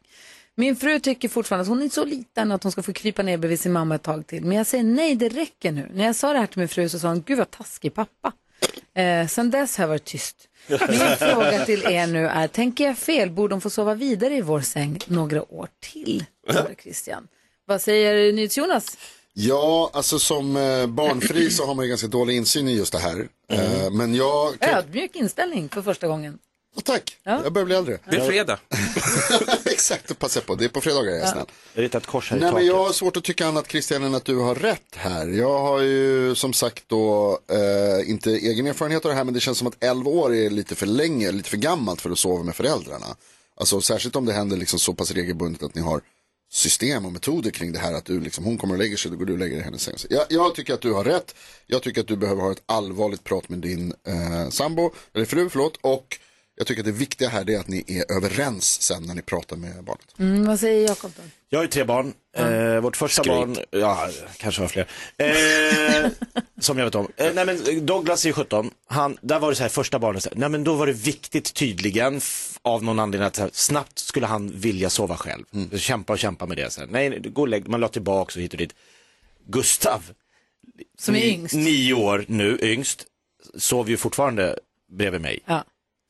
Speaker 2: Min fru tycker fortfarande att hon är så liten att hon ska få krypa ner bredvid sin mamma ett tag till. Men jag säger nej, det räcker nu. När jag sa det här till min fru så sa hon, gud vad taskig pappa. Eh, sen dess har jag varit tyst. Min fråga till er nu är, tänker jag fel? Borde de få sova vidare i vår säng några år till? undrar Christian. Vad säger NyhetsJonas?
Speaker 3: Ja, alltså som eh, barnfri så har man ju ganska dålig insyn i just det här.
Speaker 8: Mm.
Speaker 3: Eh, men jag,
Speaker 8: Typ.
Speaker 3: kan,
Speaker 2: Ödmjuk inställning för första gången.
Speaker 3: tack. jag börjar bli äldre.
Speaker 14: Det är fredag.
Speaker 3: Exakt, det passar jag på. Det är på fredagar jag är
Speaker 2: Ja.
Speaker 3: snäll.
Speaker 8: Jag ritar ett kors här i
Speaker 3: Nej, men
Speaker 8: taket.
Speaker 3: jag har svårt att tycka annat Christian än att du har rätt här. Jag har ju som sagt då eh, inte egen erfarenhet av det här men det känns som att 11 år är lite för länge, lite för gammalt för att sova med föräldrarna. Alltså särskilt om det händer liksom så pass regelbundet att ni har system och metoder kring det här att du liksom, hon kommer och lägger sig, då går du och lägger dig i hennes säng. Så Jag, jag tycker att du har rätt. Jag tycker att du behöver ha ett allvarligt prat med din eh, sambo, eller fru, förlåt. Och jag tycker att det viktiga här är att ni är överens sen när ni pratar med barnet. Mm.
Speaker 2: Mm, vad säger Jakob då?
Speaker 8: Jag har ju tre barn. Eh, vårt första barn, ja, kanske var fler. Eh, som jag vet om. Eh, nej men Douglas är ju 17. Han, där var det så här, första barnet, så här, nej men då var det viktigt tydligen f- av någon anledning att så här, snabbt skulle han vilja sova själv. Kämpa och kämpa med det. Så här. Nej, nej, gå och lägg, man la tillbaks och hit och dit. Gustav
Speaker 2: Som är
Speaker 8: ni-
Speaker 2: yngst.
Speaker 8: nio år nu, yngst, sover ju fortfarande bredvid mig.
Speaker 2: Ja.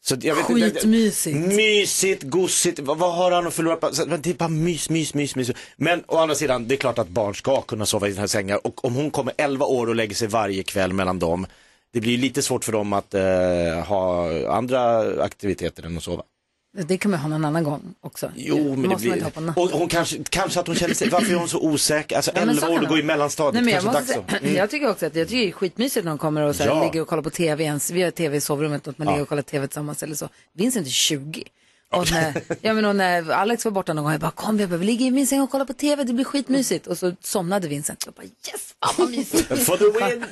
Speaker 8: Så jag vet inte-
Speaker 2: Skitmysigt.
Speaker 8: Mysigt, gosigt, vad, vad har han att förlora på? Så, men Det är bara mys, mys, mys, mys. Men å andra sidan, det är klart att barn ska kunna sova i sina sängar. Och om hon kommer 11 år och lägger sig varje kväll mellan dem, det blir ju lite svårt för dem att eh, ha andra aktiviteter än att sova.
Speaker 2: Det kan man ha någon annan gång också.
Speaker 8: Jo, men det
Speaker 2: Måste man inte
Speaker 8: blir...
Speaker 2: ha på natten.
Speaker 8: Och hon kanske, kanske att hon känner sig, varför är hon så osäker? Alltså
Speaker 2: Ja, men så
Speaker 8: 11
Speaker 2: kan
Speaker 8: år
Speaker 2: det
Speaker 8: och går i
Speaker 2: vara.
Speaker 8: mellanstadiet,
Speaker 2: Nej, men jag,
Speaker 8: kanske
Speaker 2: måste,
Speaker 8: dags
Speaker 2: säga-
Speaker 8: att... Mm.
Speaker 2: jag tycker också att jag tycker det är skitmysigt när de kommer och så här,
Speaker 8: Ja.
Speaker 2: ligger och kollar på tv ens. Vi har tv i sovrummet och man
Speaker 8: Ja.
Speaker 2: ligger och kollar tv tillsammans eller så. Vincent är 20. Och när, ja, men och när Alex var borta någon gång, jag bara kom jag behöver ligga i min säng och kolla på tv, det blir skitmysigt. Och så somnade Vincent. Jag bara yes, fan vad mysigt.
Speaker 8: For the win!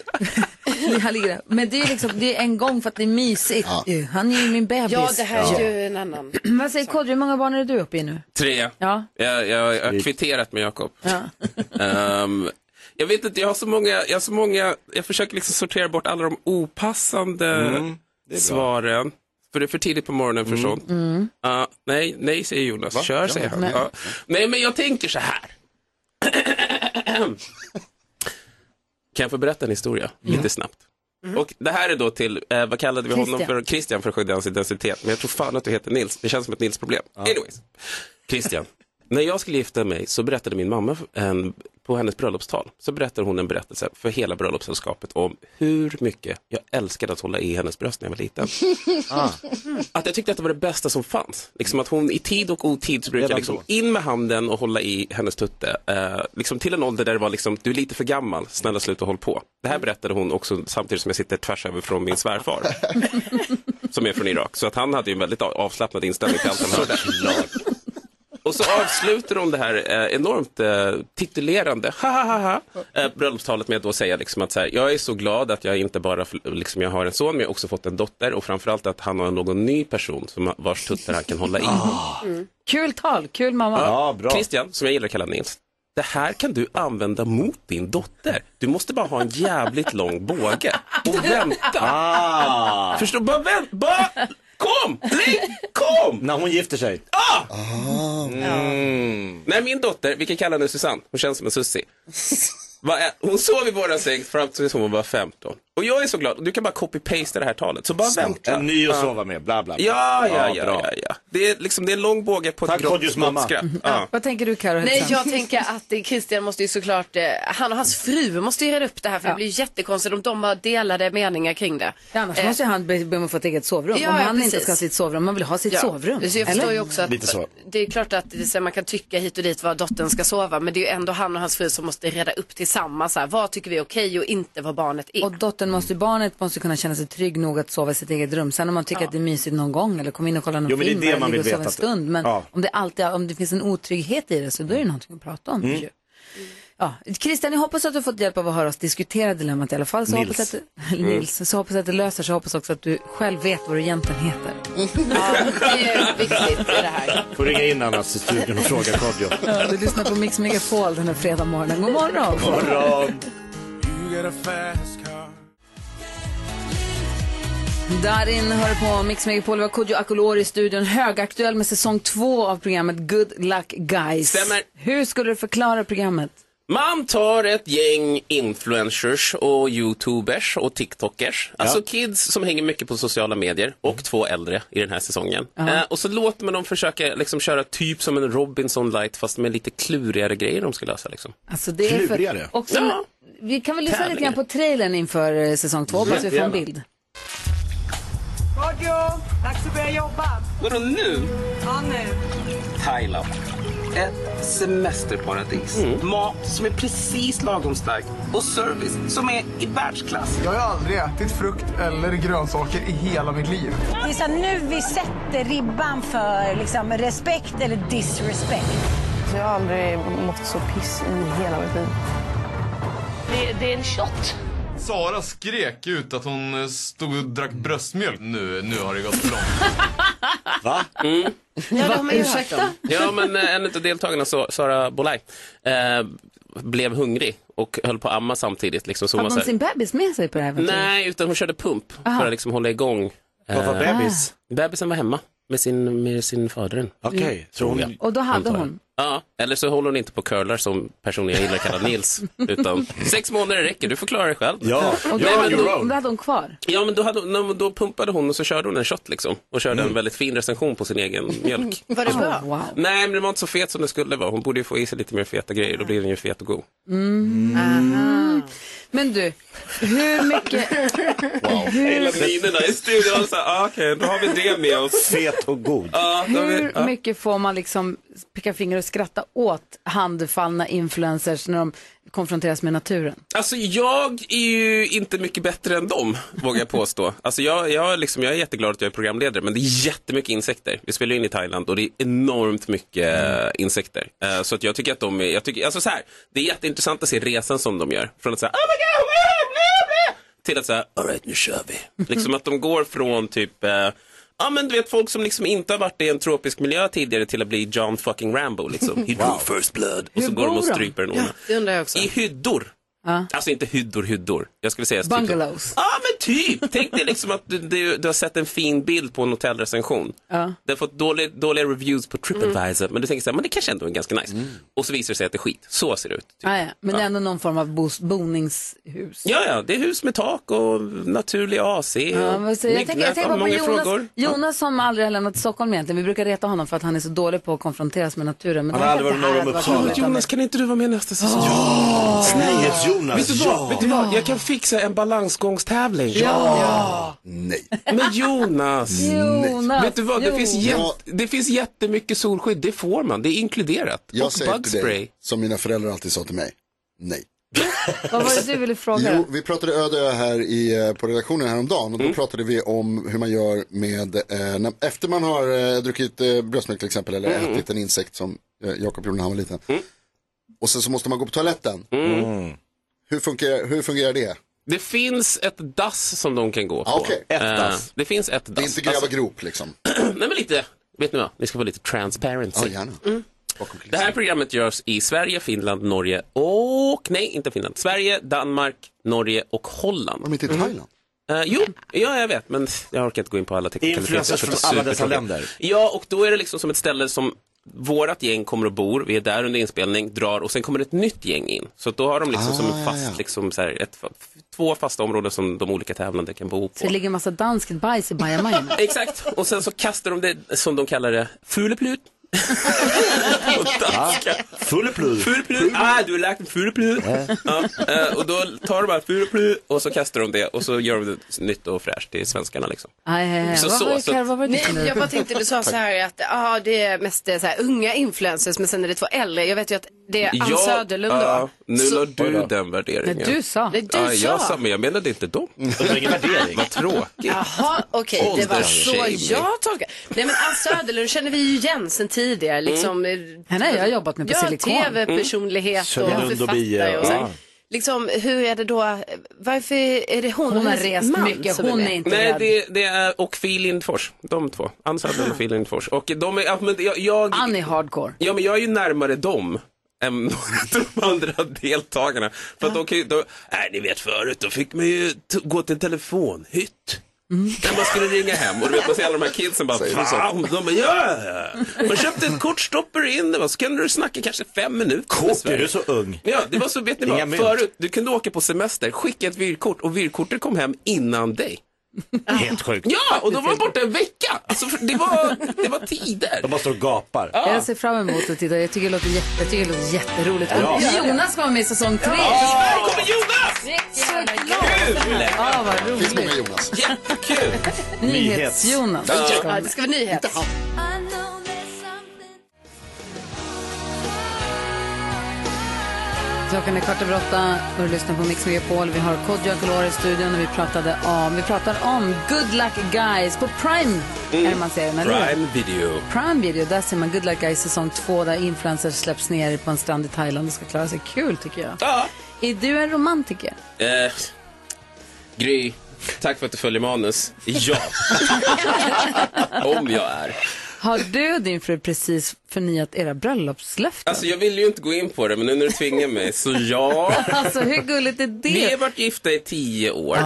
Speaker 2: Han ligger där. Men det är ju liksom, det är en gång för att det är mysigt.
Speaker 14: Ja.
Speaker 2: ju. Han är ju min bebis.
Speaker 15: Ja, det här är ju en annan.
Speaker 2: Vad säger Kodjo, hur många barn är du uppe i nu?
Speaker 14: Tre.
Speaker 2: Ja.
Speaker 14: Jag, jag, jag har kvitterat med Jakob. Ehm, jag vet inte, jag har så många, jag har så många, jag försöker liksom sortera bort alla de opassande
Speaker 8: Mm, det är bra.
Speaker 14: svaren. För det är för tidigt på morgonen för sånt.
Speaker 2: Mm.
Speaker 14: Ja, nej, nej säger Jonas.
Speaker 16: Va?
Speaker 14: Kör
Speaker 16: Ja,
Speaker 14: säger han.
Speaker 16: nej.
Speaker 14: Nej. Ja. nej, men jag tänker så här. kan jag få berätta en historia
Speaker 7: Mm.
Speaker 14: lite snabbt? Och det här är då till, eh, vad kallade vi honom
Speaker 16: Christian.
Speaker 14: för? Christian för att skydda hans identitet. Men jag tror fan att du heter Nils. Det känns som ett Nils-problem. Anyways. Christian, när jag skulle gifta mig så berättade min mamma en, på hennes bröllopstal, så berättade hon en berättelse för hela bröllopssällskapet om hur mycket jag älskade att hålla i hennes bröst när jag var liten.
Speaker 7: Ah.
Speaker 14: Att jag tyckte att det var det bästa som fanns. Liksom att hon i tid och otid så brukade jag
Speaker 16: Redan
Speaker 14: liksom
Speaker 16: då.
Speaker 14: in med handen och hålla i hennes tutte. Eh, liksom till en ålder där det var liksom, du är lite för gammal, snälla sluta håll på. Det
Speaker 16: Mm.
Speaker 14: här berättade hon också samtidigt som jag sitter tvärs över från min svärfar. som är från Irak. Så att han hade ju en väldigt av- avslappnad inställning till allt han hörde. Och så avslutar de det här eh, enormt eh, titulerande ha, ha, ha, ha, eh, bröllopstalet med att då säga liksom att så här, jag är så glad att jag inte bara förl- liksom, jag har en son men jag har också fått en dotter och framförallt att han har någon ny person som, vars tuttar han kan hålla i.
Speaker 16: Ah.
Speaker 2: Mm. Kul tal, kul mamma.
Speaker 14: Christian, som jag gillar att kalla Nils, det här kan du använda mot din dotter. Du måste bara ha en jävligt lång båge och vänta.
Speaker 8: Ah.
Speaker 14: Förstår du? Bara vänta, bara kom, lägg, kom!
Speaker 8: När hon gifter sig.
Speaker 14: Mm. När min dotter, vi kan kalla henne Susanne, hon känns som en sussi. Vad är- Hon sov i våran säng fram tills hon var 15. Och jag är så glad, du kan bara copy-pasta det här talet. Så bara
Speaker 8: Smart.
Speaker 14: vänta.
Speaker 8: En ny att
Speaker 14: Ja.
Speaker 8: sova med, bla bla. bla.
Speaker 14: Ja, ja,
Speaker 8: Ja,
Speaker 14: ja,
Speaker 8: bra.
Speaker 14: ja, ja. Det är liksom, det är en lång båge på
Speaker 8: Tack,
Speaker 14: ett grått
Speaker 8: Kodjos mamma.
Speaker 14: småskratt.
Speaker 2: Ja. Mm. Vad tänker du Karo?
Speaker 4: Nej, jag tänker att eh, Christian måste ju såklart, eh, han och hans fru måste ju reda upp det här för det blir ju jättekonstigt om de har delade meningar kring det. Eh,
Speaker 2: Annars måste ju han be be om att få ett eget sovrum.
Speaker 4: Ja,
Speaker 2: om
Speaker 4: ja,
Speaker 2: han inte
Speaker 4: precis.
Speaker 2: ska ha sitt sovrum, man vill ha sitt
Speaker 4: Ja.
Speaker 2: sovrum.
Speaker 4: Så jag
Speaker 2: eller?
Speaker 4: förstår ju också att det är klart att det är så här, man kan tycka hit och dit var dottern ska sova men det är ju ändå han och hans fru som måste reda upp tillsammans. Så här, vad tycker vi är okej och inte vad barnet är.
Speaker 2: Och dottern måste, barnet måste kunna känna sig trygg nog att sova i sitt eget rum. Sen om man tycker att det är mysigt någon gång eller kommer in och kollar någon
Speaker 8: Jo, men det är
Speaker 2: film
Speaker 8: det
Speaker 2: eller
Speaker 8: man
Speaker 2: ligger och
Speaker 8: vill
Speaker 2: sover en
Speaker 8: veta att-
Speaker 2: stund. Men
Speaker 8: Ja.
Speaker 2: om, det alltid, om det finns en otrygghet i det så då är det någonting att prata om.
Speaker 8: Mm.
Speaker 2: ju. Ja. Christian, jag hoppas att du har fått hjälp av att höra oss diskutera dilemmat i alla fall. Så
Speaker 4: Nils.
Speaker 2: Hoppas att du,
Speaker 4: Mm.
Speaker 2: Nils. Så hoppas att det löser sig. Jag hoppas också att du själv vet vad du egentligen heter.
Speaker 8: Får ringa in annars i studion och fråga Kodjo.
Speaker 2: Ja, du lyssnar på Mix Megapol den här fredag morgonen. God morgon!
Speaker 8: God morgon.
Speaker 2: Darin hör på Mix Megapol. Vi har Kodjo Akolor i studion. Högaktuell med säsong två av programmet Good Luck Guys.
Speaker 14: Stämmer.
Speaker 2: Hur skulle du förklara programmet?
Speaker 14: Man tar ett gäng influencers och youtubers och tiktokers, alltså kids som hänger mycket på sociala medier och två äldre i den här säsongen. Eh, och så låter man dem försöka liksom, köra typ som en Robinson light fast med lite klurigare grejer de ska lösa. Liksom.
Speaker 2: Alltså det är
Speaker 14: Klurigare.
Speaker 2: för, också, Vi kan väl lyssna lite grann på trailern inför eh, säsong två, hoppas vi får en
Speaker 14: Jättegärna.
Speaker 2: bild.
Speaker 17: Radio, dags att börja jobba.
Speaker 16: Vadå nu?
Speaker 17: Ja, nu.
Speaker 16: Thailand. Ett semesterparadis.
Speaker 14: Mm.
Speaker 16: Mat som är precis lagom stark och service som är i världsklass.
Speaker 18: Jag har aldrig ätit frukt eller grönsaker i hela mitt liv.
Speaker 19: Det är så här, nu vi sätter ribban för liksom, respekt eller disrespect.
Speaker 20: Jag har aldrig mått så piss i hela mitt liv.
Speaker 21: Det, är en shot.
Speaker 22: Sara skrek ut att hon eh, stod och drack bröstmjölk. Nu, nu har det gått för långt.
Speaker 14: Va? Mm.
Speaker 4: Ja,
Speaker 16: de har ju Ursäkta? hört
Speaker 14: Ja, men eh, en av deltagarna, Sa- Sara Bolaj, eh, blev hungrig och höll på att amma samtidigt. Liksom, så hon
Speaker 2: Hade
Speaker 14: var
Speaker 2: de
Speaker 14: så här,
Speaker 2: sin bebis med sig på det här äventyret?
Speaker 14: Nej, utan hon körde pump
Speaker 2: Aha.
Speaker 14: för att liksom hålla igång.
Speaker 2: Vad var bebis?
Speaker 14: Bebisen var hemma. Med sin, med sin fader.
Speaker 8: Okej, så hon-
Speaker 2: Och då hade
Speaker 14: Antar jag.
Speaker 2: hon.
Speaker 14: Mm. Ja, eller så håller hon inte på och curlar som personen jag gillar kallar Nils. utan sex månader räcker, du får klara dig själv.
Speaker 8: Ja,
Speaker 2: Och då,
Speaker 14: ja, men
Speaker 2: då,
Speaker 14: då,
Speaker 2: då hade hon kvar.
Speaker 14: ja men då, hade, hon- nej, men då pumpade hon och så körde hon en shot liksom. Och körde
Speaker 8: Mm.
Speaker 14: en väldigt fin recension på sin egen mjölk.
Speaker 4: Var det bra?
Speaker 2: Wow.
Speaker 14: Nej, men den var inte så fet som den skulle vara. Hon borde ju få i sig lite mer feta grejer, då blir den ju fet och god.
Speaker 2: Mm. Aha. Men du, hur mycket...
Speaker 14: Hela
Speaker 2: hur,
Speaker 14: minerna i studion, alltså, ah, okej, då har vi det med oss.
Speaker 8: Fet och god.
Speaker 14: Ja, då har vi,
Speaker 2: hur mycket får man liksom peka finger och skratta åt handfallna influencers när de konfronteras med naturen?
Speaker 14: Alltså jag är ju inte mycket bättre än dem, vågar jag påstå. Alltså jag, jag, är liksom, jag är jätteglad att jag är programledare, men det är jättemycket insekter. Vi spelar ju in i Thailand och det är enormt mycket
Speaker 4: Mm.
Speaker 14: eh, insekter. Eh, så att jag tycker att de är, jag tycker, alltså så här, det är jätteintressant att se resan som de gör. Från att säga, oh my god, wow, blah, blah", till att säga, alright nu kör vi. Liksom att de går från typ, eh, ja men du vet folk som liksom inte har varit i en tropisk miljö tidigare till att bli John fucking Rambo liksom. He drew first blood. Och
Speaker 4: Hur
Speaker 14: så går de
Speaker 4: bor
Speaker 14: och
Speaker 4: de?
Speaker 14: stryper en orm.
Speaker 4: Det undrar jag också.
Speaker 14: I hyddor.
Speaker 2: Ja.
Speaker 14: Alltså inte hyddor, hyddor. Jag skulle säga
Speaker 2: Bungalows.
Speaker 14: Ja, men typ. Tänk dig liksom att du, du, du har sett en fin bild på en hotellrecension.
Speaker 2: Ja.
Speaker 14: Det har fått dåliga, dåliga reviews på Tripadvisor,
Speaker 2: Mm.
Speaker 14: men du tänker så här, men det kanske ändå är ganska nice. Och så visar det sig att det är skit. Så ser det ut.
Speaker 2: Ah, ja. Men det är ändå någon form av bos- boningshus.
Speaker 14: Ja, ja, det är hus med tak och naturlig AC. och
Speaker 2: Ja, vad säger, jag tänker, jag
Speaker 14: myggnät
Speaker 2: tänker
Speaker 14: och
Speaker 2: bara på
Speaker 14: många
Speaker 2: Jonas,
Speaker 14: frågor.
Speaker 2: Jonas som aldrig har lämnat Stockholm egentligen. Vi brukar reta honom för att han är så dålig på att konfronteras med naturen. Men
Speaker 8: Han
Speaker 2: tänk
Speaker 8: har
Speaker 2: att det
Speaker 8: aldrig
Speaker 2: här
Speaker 8: varit norr om
Speaker 2: hade varit
Speaker 8: Uppsala.
Speaker 2: roligt om-
Speaker 14: Jonas, kan inte du vara med nästa säsong?
Speaker 8: Nyhets-Jonas,
Speaker 14: Vet du,
Speaker 8: ja.
Speaker 14: vad, vet du vad, jag kan fixa en balansgångstävling.
Speaker 8: Ja.
Speaker 3: Nej.
Speaker 14: Men Jonas.
Speaker 2: Jonas,
Speaker 14: Vet du vad, det finns,
Speaker 2: Jonas.
Speaker 14: jätt, det finns jättemycket solskydd. Det får man, det är inkluderat.
Speaker 3: Jag
Speaker 14: och
Speaker 3: säger till
Speaker 14: bugspray.
Speaker 3: dig, som mina föräldrar alltid sa till mig, nej.
Speaker 2: Vad var det du ville fråga?
Speaker 3: Jo,
Speaker 2: då?
Speaker 3: vi pratade öde ö här i, eh, på redaktionen häromdagen och
Speaker 14: Mm.
Speaker 3: då pratade vi om hur man gör med, eh, när, efter man har eh, druckit eh, bröstmjölk till exempel eller
Speaker 14: Mm.
Speaker 3: ätit en insekt som eh, Jakob gjorde när han var liten. Och sen så måste man gå på toaletten.
Speaker 14: Mm.
Speaker 3: Hur, funkar, hur fungerar det?
Speaker 14: Det finns ett dass som de kan gå på.
Speaker 3: Ah, okej. Ett
Speaker 14: Eh,
Speaker 3: dass.
Speaker 14: Det finns ett dass.
Speaker 3: Det är inte gräva
Speaker 14: Alltså-
Speaker 3: grop liksom.
Speaker 14: Nej men lite, vet ni vad, ni ska få lite transparency. Mm.
Speaker 3: Ja, gärna.
Speaker 14: Det här programmet görs i Sverige, Finland, Norge och, nej inte Finland, Sverige, Danmark, Norge och Holland.
Speaker 3: Om inte i Thailand?
Speaker 14: Eh, jo, ja, jag vet, men jag orkar inte gå in på alla teknikaliteter.
Speaker 8: Influencers
Speaker 14: för
Speaker 8: från
Speaker 14: det är
Speaker 8: alla dessa
Speaker 14: supertråkigt.
Speaker 8: länder.
Speaker 14: Ja, och då är det liksom som ett ställe som vårat gäng kommer och bor, vi är där under inspelning, drar och sen kommer ett nytt gäng in. Så då har de liksom som
Speaker 3: Ah,
Speaker 14: en
Speaker 3: ja,
Speaker 14: fast,
Speaker 3: ja.
Speaker 14: liksom så här, ett, två fasta områden som de olika tävlande kan bo
Speaker 2: Så det
Speaker 14: på.
Speaker 2: ligger en massa danskt bajs i bajamajorna.
Speaker 14: Exakt, och sen så kastar de det som de kallar det, fuleplut. och danska.
Speaker 8: Fulleplut.
Speaker 14: Furuplut, ah du har lagt en furuplut. Ja, eh, och då tar de bara furuplut och så kastar de det och så gör de det nytt och fräscht till svenskarna liksom.
Speaker 2: Aj, aj, aj.
Speaker 14: Så-
Speaker 2: Eh, Vad
Speaker 14: så-
Speaker 2: var det,
Speaker 14: så-
Speaker 2: Karo? Vad var det du
Speaker 15: Nej,
Speaker 2: funderade
Speaker 15: jag
Speaker 2: på?
Speaker 15: bara tänkte du sa så här att ah, det är mest eh, så här, unga influencers men sen är det två äldre. Jag vet ju att det är Ann
Speaker 14: Ja,
Speaker 15: Söderlund
Speaker 14: ja,
Speaker 15: då.
Speaker 14: nu
Speaker 15: Så-
Speaker 14: la du den värderingen.
Speaker 2: Nej, du sa.
Speaker 15: Nej, du
Speaker 14: Ja, jag
Speaker 15: sa.
Speaker 14: sa, men jag menade inte dem.
Speaker 8: Det var Mm. ingen värdering.
Speaker 14: Vad tråkigt.
Speaker 15: Jaha, okej, det var så
Speaker 14: Åldersshaming.
Speaker 15: jag tolkar. Nej men Ann Söderlund känner vi ju igen sen tidigare. Liksom,
Speaker 2: Henne har jag jobbat med på
Speaker 15: ja,
Speaker 2: Silikon.
Speaker 15: tv-personlighet och
Speaker 8: Söderlund och
Speaker 15: författare
Speaker 8: Bie,
Speaker 15: och så.
Speaker 8: ja.
Speaker 15: här. Liksom, hur är det då, varför är det hon?
Speaker 2: Hon
Speaker 15: och
Speaker 2: har
Speaker 15: hennes
Speaker 2: rest
Speaker 15: man
Speaker 2: mycket,
Speaker 15: som
Speaker 2: hon
Speaker 15: med?
Speaker 2: är inte
Speaker 14: Nej,
Speaker 2: rädd.
Speaker 14: det, det är och Phil Lindfors. De två. Ann Söderlund och Phil Lindfors. Och de är, ja, men jag, jag,
Speaker 2: Han är hardcore.
Speaker 14: Ja, men jag är ju närmare dem än de andra deltagarna. För att de kan ju, de, nej ni vet förut, då fick man ju t- gå till en telefonhytt.
Speaker 2: Mm.
Speaker 14: När man skulle ringa hem och du vet man ser alla de här kidsen bara,
Speaker 3: Säger du så?
Speaker 14: fan, de bara, ja, ja, ja. Man köpte ett kort, stoppar in det, va, så kunde du snacka kanske fem minuter. med
Speaker 8: Kort,
Speaker 14: Sverige.
Speaker 8: är du så ung?
Speaker 14: Ja, det var så, vet ni
Speaker 8: Inga
Speaker 14: vad,
Speaker 8: mynt.
Speaker 14: förut, du kunde åka på semester, skicka ett vykort och vykortet kom hem innan dig.
Speaker 8: Helt sjukt.
Speaker 14: Ja, och då var jag borta en vecka. Alltså, för det, var, det var tider.
Speaker 8: De bara står och gapar.
Speaker 2: Jag ser fram emot att titta. Jag tycker det låter, jätte, jag tycker det låter jätteroligt.
Speaker 8: Ja.
Speaker 2: Jonas kommer med i säsong tre.
Speaker 14: Här kommer Jonas! Kul!
Speaker 2: Ja, vad
Speaker 3: Det finns många
Speaker 2: roligt.
Speaker 3: Jonas.
Speaker 14: Jättekul!
Speaker 2: Nyhets-Jonas.
Speaker 15: Ja, det ska vara nyhet.
Speaker 2: Klockan är kvart över åtta och du lyssnar på Mix Megapol. Vi har Kodjo Akolor i studion och vi pratade om, vi pratar om Good Luck Guys på Prime. Är det man ser den, eller hur?
Speaker 14: Mm. Prime Video.
Speaker 2: Prime Video, där ser man Good Luck Guys säsong två där influencers släpps ner på en strand i Thailand och ska klara sig. Kul tycker jag.
Speaker 14: Ja.
Speaker 2: Är du en romantiker?
Speaker 14: Eh, Gry, tack för att du följer manus. Ja. Om jag är.
Speaker 2: Har du och din fru precis förnyat era bröllopslöften?
Speaker 14: Alltså jag ville ju inte gå in på det, men nu när du tvingar mig, så ja.
Speaker 2: Alltså, hur gulligt är det?
Speaker 14: Vi har varit gifta i tio år.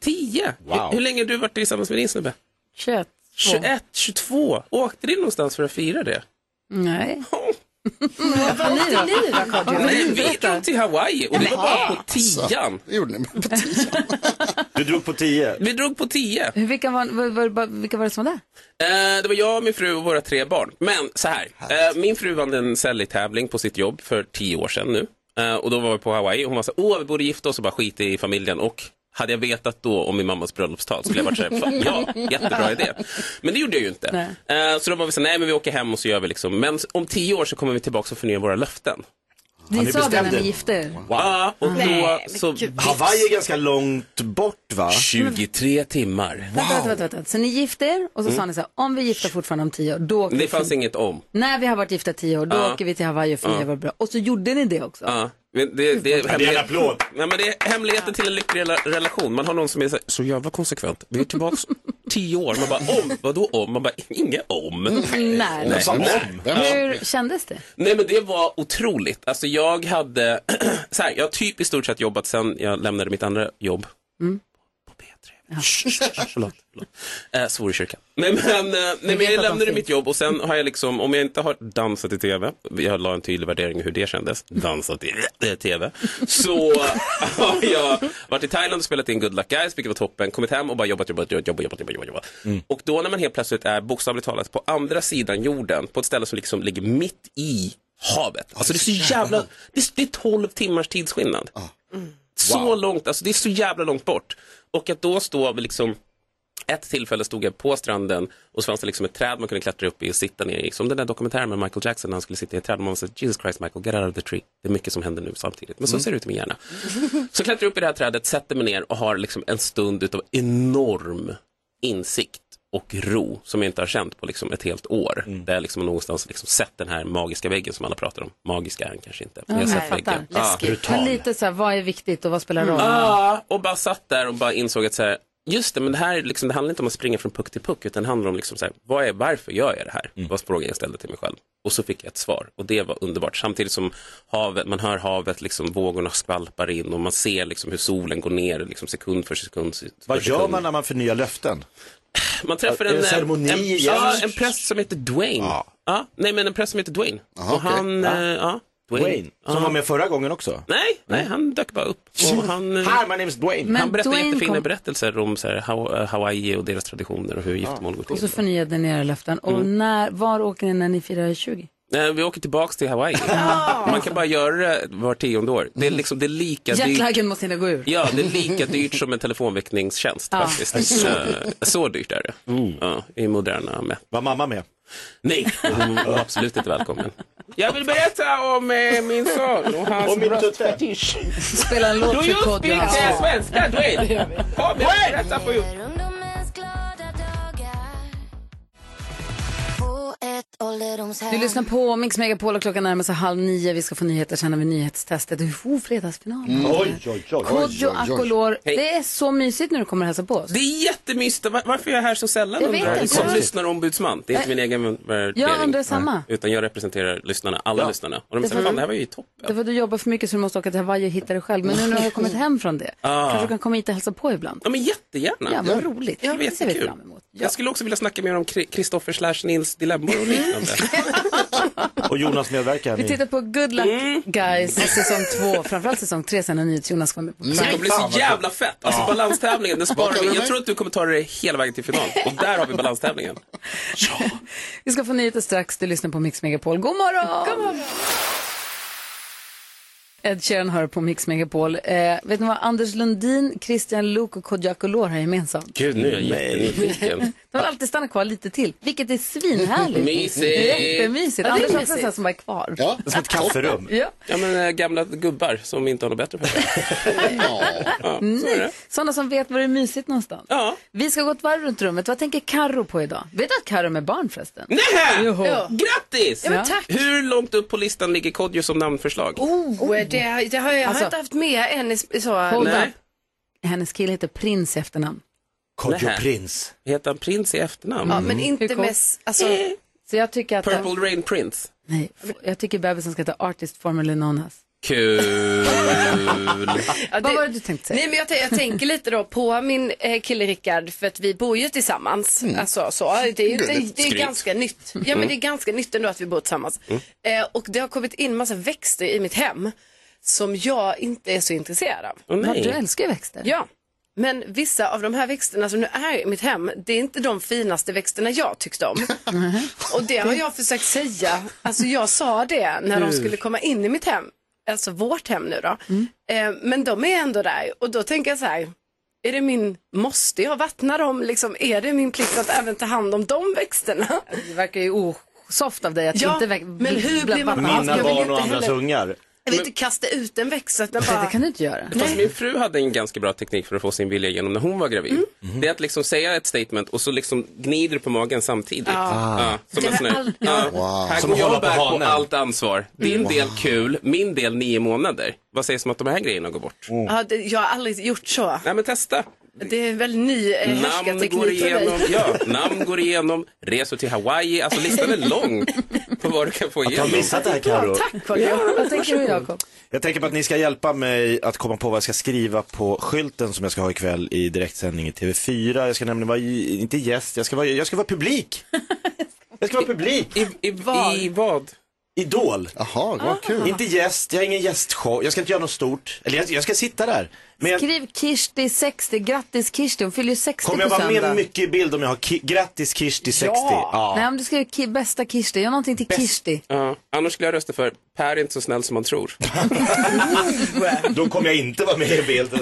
Speaker 14: Tio? Hur, hur länge har du varit tillsammans med din snubbe?
Speaker 2: 21,
Speaker 14: 21, 22. Åkte ni någonstans för att fira det?
Speaker 4: Nej.
Speaker 2: Vad åkte ni då,
Speaker 14: Nej,
Speaker 2: Kodjo?
Speaker 14: vi drog till Hawaii och det var bara på tian.
Speaker 3: Det gjorde ni på tian.
Speaker 8: Du drog på tio.
Speaker 14: Vi drog på tio.
Speaker 2: Hur- Vilka var, var, var, var, vilka var det som var där?
Speaker 14: Eh, det var jag, min fru och våra tre barn. Men så här, eh, min fru vann en säljtävling på sitt jobb för tio år sedan nu. Eh, och då var vi på Hawaii och hon var så här, åh vi borde gifta oss och bara skita i familjen. Och hade jag vetat då om min mammas bröllopstal skulle jag varit så här, "Fan, ja, jättebra idé. Men det gjorde jag ju inte. Eh, så då var vi så här, nej men vi åker hem och så gör vi liksom, men om tio år så kommer vi tillbaka och förnyar våra löften.
Speaker 2: Ni,
Speaker 8: ni
Speaker 2: sa det när
Speaker 8: bestämde.
Speaker 2: ni gifte er.
Speaker 14: Ja, Ah, och då
Speaker 2: Nej,
Speaker 14: så...
Speaker 8: Hawaii är ganska långt bort va?
Speaker 14: 23 timmar.
Speaker 2: Vänta, vänta, vänta, vänta. Så ni gifte er och så sa
Speaker 14: Mm.
Speaker 2: ni så här, om vi gifter fortfarande om tio år, då åker vi
Speaker 14: Det fanns
Speaker 2: till-
Speaker 14: inget om.
Speaker 2: När vi har varit gifta tio år, då
Speaker 14: Ja.
Speaker 2: åker vi till Hawaii och firar
Speaker 14: Ja.
Speaker 2: vår bröllop. Och så gjorde ni det också.
Speaker 14: Ja. men Det, det,
Speaker 8: det är en applåd.
Speaker 14: Nej, men det är hemligheten till en lycklig rela- relation. Man har någon som är så, här, så jävla konsekvent. Vi är tillbaka tio år. Man bara om, vadå om? Man bara inget om.
Speaker 2: Mm, nej.
Speaker 14: Nej.
Speaker 2: Vem sa
Speaker 14: Ja.
Speaker 2: Hur kändes det?
Speaker 14: Nej men det var otroligt. Alltså jag hade, så här, jag har typ i stort sett jobbat sen jag lämnade mitt andra jobb.
Speaker 2: Mm.
Speaker 14: Förlåt, förlåt. Eh, svor i kyrkan. Nej men, eh, nej, men jag lämnade mitt jobb och sen har jag liksom, om jag inte har dansat i tv, jag la en tydlig värdering i hur det kändes, dansat i eh, tv, så har jag varit i Thailand och spelat in Good Luck Guys, vilket var toppen, kommit hem och bara jobbat, jobbat, jobbat, jobbat, jobbat, jobbat. jobbat. Och då när man helt plötsligt är bokstavligt talat på andra sidan jorden, på ett ställe som liksom ligger mitt i havet. Alltså det är så jävla, det är, det är 12 timmars tidsskillnad. Så långt, alltså det är så jävla långt bort. Och att då stå vid liksom, ett tillfälle stod jag på stranden och så fanns det liksom ett träd man kunde klättra upp i och sitta ner i. Som den där dokumentären med Michael Jackson när han skulle sitta i ett träd. Och man var så här, Jesus Christ Michael, get out of the tree. Det är mycket som händer nu samtidigt. Men så
Speaker 16: Mm.
Speaker 14: ser det ut i min hjärna. Så klättrar jag upp i det här trädet, sätter mig ner och har liksom en stund utav enorm insikt och ro som jag inte har känt på liksom ett helt år. Där jag liksom någonstans liksom sett den här magiska väggen som alla pratar om. Magiska är den kanske inte. Men jag har sett väggen. Ja.
Speaker 2: Men lite så här, vad är viktigt och vad spelar roll?
Speaker 8: Mm.
Speaker 14: Mm. Ja, Ah, och bara satt där och bara insåg att så här, just det, men det här är liksom, det handlar inte om att springa från puck till puck, utan det handlar om liksom så här, vad är, varför gör jag det här?
Speaker 8: Mm.
Speaker 14: Vad frågan jag ställde till mig själv. Och så fick jag ett svar och det var underbart. Samtidigt som havet, man hör havet, liksom, vågorna skvalpar in och man ser liksom, hur solen går ner liksom, sekund för sekund. För
Speaker 8: Vad
Speaker 14: sekund.
Speaker 8: gör man när man förnyar löften?
Speaker 14: Man träffar
Speaker 8: Är det
Speaker 14: en,
Speaker 8: ceremoni
Speaker 14: en,
Speaker 8: igen?
Speaker 14: ja, en präst som heter Dwayne. Ja. nej, men en präst som heter Dwayne. och han, eh, ja, Dwayne.
Speaker 8: Dwayne, som
Speaker 14: Ja.
Speaker 8: var med förra gången också.
Speaker 14: Nej, nej, han dök bara upp. Och han, eh,
Speaker 8: Hi, my name is Mm. Dwayne.
Speaker 2: Men
Speaker 14: han berättar
Speaker 2: Dwayne
Speaker 14: jättefina
Speaker 2: kom-
Speaker 14: berättelser om så här, Haw- eh, Hawaii och deras traditioner och hur giftermål går
Speaker 2: Och
Speaker 14: till.
Speaker 2: så förnyade ni era löften. Och
Speaker 14: Mm.
Speaker 2: när, var åker ni när ni firar 20?
Speaker 14: Nej, Eh, vi åker tillbaks till Hawaii. Man kan bara göra det var tionde år. Det är,
Speaker 2: Mm.
Speaker 14: liksom, det är lika dyrt.
Speaker 2: Jetlagen måste hinna gå ur.
Speaker 14: Ja, det är lika dyrt som en telefonväckningstjänst
Speaker 2: Ja.
Speaker 14: faktiskt.
Speaker 2: Så
Speaker 14: Eh,
Speaker 2: dyrt.
Speaker 14: Så dyrt är det. Ja, I moderna med.
Speaker 8: Var mamma med?
Speaker 14: Nej, hon var absolut inte välkommen. Jag vill berätta om eh, min son och hans
Speaker 16: Om min tutte.
Speaker 14: bröstfetisch.
Speaker 2: Spela en låt
Speaker 14: Do
Speaker 2: för
Speaker 14: you
Speaker 2: Kodjo.
Speaker 14: speak eh, svenska, Dwayne? Kom, jag ska berätta för dig.
Speaker 2: Du lyssnar på Mix Megapol och klockan närmar sig halv nio. Vi ska få nyheter sen har vi nyhetstestet. Oh, fredagsfinalen.
Speaker 14: Mm.
Speaker 8: oj,
Speaker 2: Kodjo Akolor,
Speaker 14: Hej.
Speaker 2: det är så mysigt när du kommer och hälsar på oss.
Speaker 14: Det är jättemysigt. Var- Varför är jag här så sällan?
Speaker 2: Jag vet
Speaker 14: undrar
Speaker 2: inte. Äh,
Speaker 14: Som lyssnarombudsman. Det är inte min egen värdering.
Speaker 2: Jag undrar samma.
Speaker 14: Utan jag representerar lyssnarna, alla lyssnarna. Och de
Speaker 2: Det
Speaker 14: säger,
Speaker 2: var-
Speaker 14: fan det här var ju topp.
Speaker 2: Det var du jobbar för mycket så du måste åka till Hawaii och hitta det själv. Men nu när du har kommit hem från det,
Speaker 14: Ah.
Speaker 2: kanske du kan komma hit och hälsa på ibland.
Speaker 14: Ja men jättegärna.
Speaker 2: Ja, vad roligt.
Speaker 14: Det var
Speaker 2: Det ser vi
Speaker 14: jättekul.
Speaker 2: fram
Speaker 14: Jag skulle också vilja snacka mer om Kri- Kristoffer slash Nils dilemmor och liknande.
Speaker 8: Och Jonas medverkar.
Speaker 2: Mm. Vi tittar på Good Luck
Speaker 14: Mm.
Speaker 2: Guys, säsong två, framförallt säsong tre sen när NyhetsJonas kommer på
Speaker 14: Så det kommer bli så jävla fett. Alltså
Speaker 16: Ja.
Speaker 14: balanstävlingen, den sparar
Speaker 16: Bakar du
Speaker 14: vi. Jag
Speaker 16: mig?
Speaker 14: tror att du kommer ta dig hela vägen till final. Och där har vi balanstävlingen.
Speaker 2: Vi ska få nyheter strax. Du lyssnar på Mix Megapol. God morgon! God morgon. Ed Sheeran hör på Mix Megapol. Eh, vet ni vad Anders Lundin, Christian Luuk och Kodjo Akolor har gemensamt?
Speaker 14: Gud, nu är jag jättenyfiken. Oh
Speaker 2: De vill alltid stanna kvar lite till, vilket är svinhärligt.
Speaker 14: Mysigt.
Speaker 2: Jättemysigt.
Speaker 14: Ja, det är
Speaker 2: Anders har också
Speaker 14: mysigt.
Speaker 2: en sån som bara är kvar.
Speaker 3: Ja.
Speaker 14: Som ett
Speaker 8: kafferum.
Speaker 2: Ja.
Speaker 14: ja men eh, gamla gubbar som inte har något bättre för sig. Ja, så är det.
Speaker 2: Nej, sådana som vet var det är mysigt någonstans. Vi ska gå ett varv runt rummet. Vad tänker Karo på idag? Vet du att Karo är med barn förresten?
Speaker 14: Nej!
Speaker 2: Joho.
Speaker 14: Grattis!
Speaker 2: Ja, men tack.
Speaker 14: Hur långt upp på listan ligger Kodjo som namnförslag?
Speaker 4: Oh, det, det har jag, jag
Speaker 2: Alltså-
Speaker 4: har inte haft med än i så.
Speaker 2: Hold up. Hennes kille heter Prins i efternamn.
Speaker 8: Kodjo
Speaker 14: Nähä.
Speaker 8: Prins.
Speaker 14: Heter han Prins i efternamn?
Speaker 4: Ja, men
Speaker 2: Hur
Speaker 4: inte
Speaker 2: coolt?
Speaker 4: med... s- Alltså,
Speaker 2: Så jag tycker att...
Speaker 14: Purple Rain Prince.
Speaker 2: Nej, f- jag tycker bebisen ska heta Artist Formerly Known As.
Speaker 14: Kul.
Speaker 4: Vad var det du tänkte säga? Nej, men jag, tän- jag tänker lite då på min eh, kille Rickard för att vi bor ju tillsammans. Alltså, så, det är, ju- det, det är
Speaker 1: Skryt.
Speaker 4: ganska nytt. Ja,
Speaker 1: Mm.
Speaker 4: men det är ganska nytt ändå att vi bor tillsammans. Eh, och det har kommit in massa växter i mitt hem som jag inte är så intresserad av.
Speaker 1: Åh, nej. Vad du
Speaker 4: älskar ju växter. Ja. Men vissa av de här växterna som nu är i mitt hem, det är inte de finaste växterna jag tyckte om.
Speaker 14: Mm-hmm.
Speaker 4: Och det har jag försökt säga. Alltså jag sa det när de
Speaker 1: Hur?
Speaker 4: skulle komma in i mitt hem, alltså vårt hem nu då.
Speaker 2: Mm.
Speaker 4: Eh, men de är ändå där och då tänker jag så här, är det min, måste jag vattna dem liksom? Är det min plikt att även ta hand om de växterna?
Speaker 2: Det verkar ju osoft av dig att
Speaker 4: ja,
Speaker 2: inte väck-
Speaker 4: men hur blir man Jag
Speaker 2: blanda-
Speaker 8: Mina
Speaker 4: vill
Speaker 8: barn
Speaker 4: inte
Speaker 8: och andras
Speaker 4: heller-
Speaker 8: ungar.
Speaker 4: Jag vill inte kasta ut en växt så att den bara... Det
Speaker 2: kan du inte göra.
Speaker 14: Fast min fru hade en ganska bra teknik för att få sin vilja igenom när hon var gravid.
Speaker 4: Mm.
Speaker 8: Mhm.
Speaker 14: Det är att liksom säga ett statement och så liksom gnider du på magen samtidigt.
Speaker 4: Ah.
Speaker 14: som
Speaker 4: Det
Speaker 14: en sån
Speaker 4: var
Speaker 14: här,
Speaker 4: all-
Speaker 14: ja,
Speaker 4: Wow.
Speaker 14: här
Speaker 8: Som
Speaker 14: går
Speaker 8: att
Speaker 14: jag
Speaker 8: hålla
Speaker 14: och
Speaker 8: på
Speaker 14: bär på
Speaker 8: hanen.
Speaker 14: allt ansvar. Din
Speaker 8: Mm.
Speaker 14: del kul, min del nio månader. Vad sägs om att de här grejerna går bort?
Speaker 4: Ja, det, jag har aldrig gjort så.
Speaker 14: Nej men testa.
Speaker 4: Det är en väldigt ny eh,
Speaker 14: Namn går
Speaker 4: härskarteknik för
Speaker 14: igenom,
Speaker 4: mig.
Speaker 14: ja, namn går igenom, resor till Hawaii, alltså listan är lång på vad du kan få igenom.
Speaker 8: missat det här, Karo. Ja, tack, vad bra.
Speaker 2: Vad tänker du Jakob?
Speaker 8: Jag tänker på att ni ska hjälpa mig att komma på vad jag ska skriva på skylten som jag ska ha ikväll i direktsändning i TV4. Jag ska nämligen vara, i- inte gäst, jag ska vara, jag ska vara publik. Jag ska vara publik.
Speaker 14: I,
Speaker 8: vad?
Speaker 14: I vad?
Speaker 8: Idol.
Speaker 3: Jaha, vad kul.
Speaker 8: Inte gäst, jag har ingen gästshow, jag ska inte göra något stort. Eller jag, jag ska sitta där. Men jag,
Speaker 2: Skriv Kirsti 60, grattis Kirsti, hon fyller ju 60
Speaker 8: kommer jag vara med mycket i bild om jag har ki- grattis Kirsti 60?
Speaker 2: Nej, om du skriver ki- bästa Kirsti, gör någonting till Kirsti.
Speaker 14: Ja, annars skulle jag rösta för Per är inte så snäll som man tror.
Speaker 8: Då kommer jag inte vara med i bilden.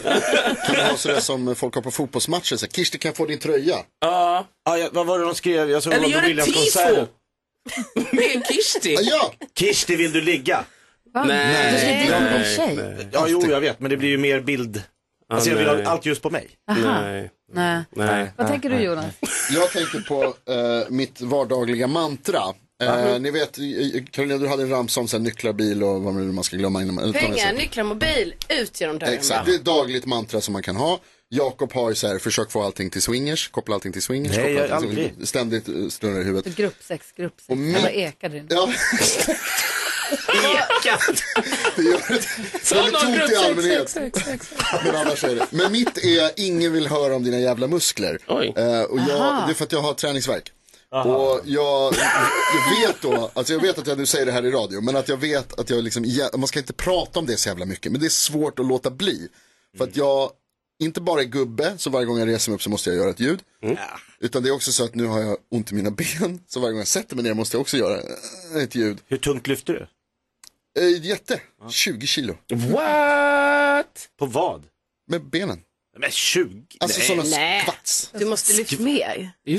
Speaker 3: Kan det vara sådär som folk har på fotbollsmatcher? Så här, Kirsti kan jag få din tröja.
Speaker 14: Ja.
Speaker 8: Ah, jag, vad var det de skrev? Jag såg
Speaker 3: Eller
Speaker 8: Robin
Speaker 3: gör ett
Speaker 8: Williams-konserten.
Speaker 3: tifo.
Speaker 14: Med Kirsti?
Speaker 3: Ja!
Speaker 8: Kirsti, vill du ligga?
Speaker 2: Va? Nej. Du ska dit med din tjej.
Speaker 8: Ja, jo, jag vet, men det blir ju mer bild. Alltså, jag vill
Speaker 14: nej.
Speaker 8: ha allt ljus på mig.
Speaker 2: Aha.
Speaker 14: Nej.
Speaker 2: Nej.
Speaker 14: Nej.
Speaker 2: Vad tänker du Jonas?
Speaker 3: Jag tänker på eh, mitt vardagliga mantra. Eh, ni vet, eh, Karolina, du hade en ramsa om så här, nycklar, bil och vad man ska glömma. Innan man, utan att säga.
Speaker 4: Pengar, nycklar, mobil, ut genom dörren.
Speaker 3: Exakt, det är ett dagligt mantra som man kan ha. Jakob har ju så här, försök få allting till swingers, koppla allting till swingers.
Speaker 8: Nej,
Speaker 3: koppla
Speaker 8: jag-
Speaker 3: allting till
Speaker 8: aldrig.
Speaker 3: swingers. Ständigt eh, snurrar i huvudet.
Speaker 2: Grupp sex, grupp sex.
Speaker 3: Och min-
Speaker 2: Eller ekar det?
Speaker 3: Ja. Det gör ett väldigt tomt i allmänhet. Men annars är det. Men mitt är, ingen vill höra om dina jävla muskler. Eh, och jag,
Speaker 7: Aha.
Speaker 3: det är för att jag har träningsvärk. Och jag, jag vet då, alltså jag vet att jag nu säger det här i radio, men att jag vet att jag liksom, jä- man ska inte prata om det så jävla mycket, men det är svårt att låta bli. För att jag, inte bara är gubbe, så varje gång jag reser mig upp så måste jag göra ett ljud.
Speaker 8: Mm.
Speaker 3: Utan det är också så att nu har jag ont i mina ben, så varje gång jag sätter mig ner måste jag också göra eh, ett ljud.
Speaker 8: Hur tungt lyfter du?
Speaker 3: Eh, jätte, 20 kilo.
Speaker 14: What?
Speaker 8: På vad?
Speaker 3: Med benen.
Speaker 8: Men 20?
Speaker 3: Alltså
Speaker 8: Nej.
Speaker 3: sådana
Speaker 4: Nej.
Speaker 3: skvatts.
Speaker 4: Du måste lyfta mer.
Speaker 3: Ja,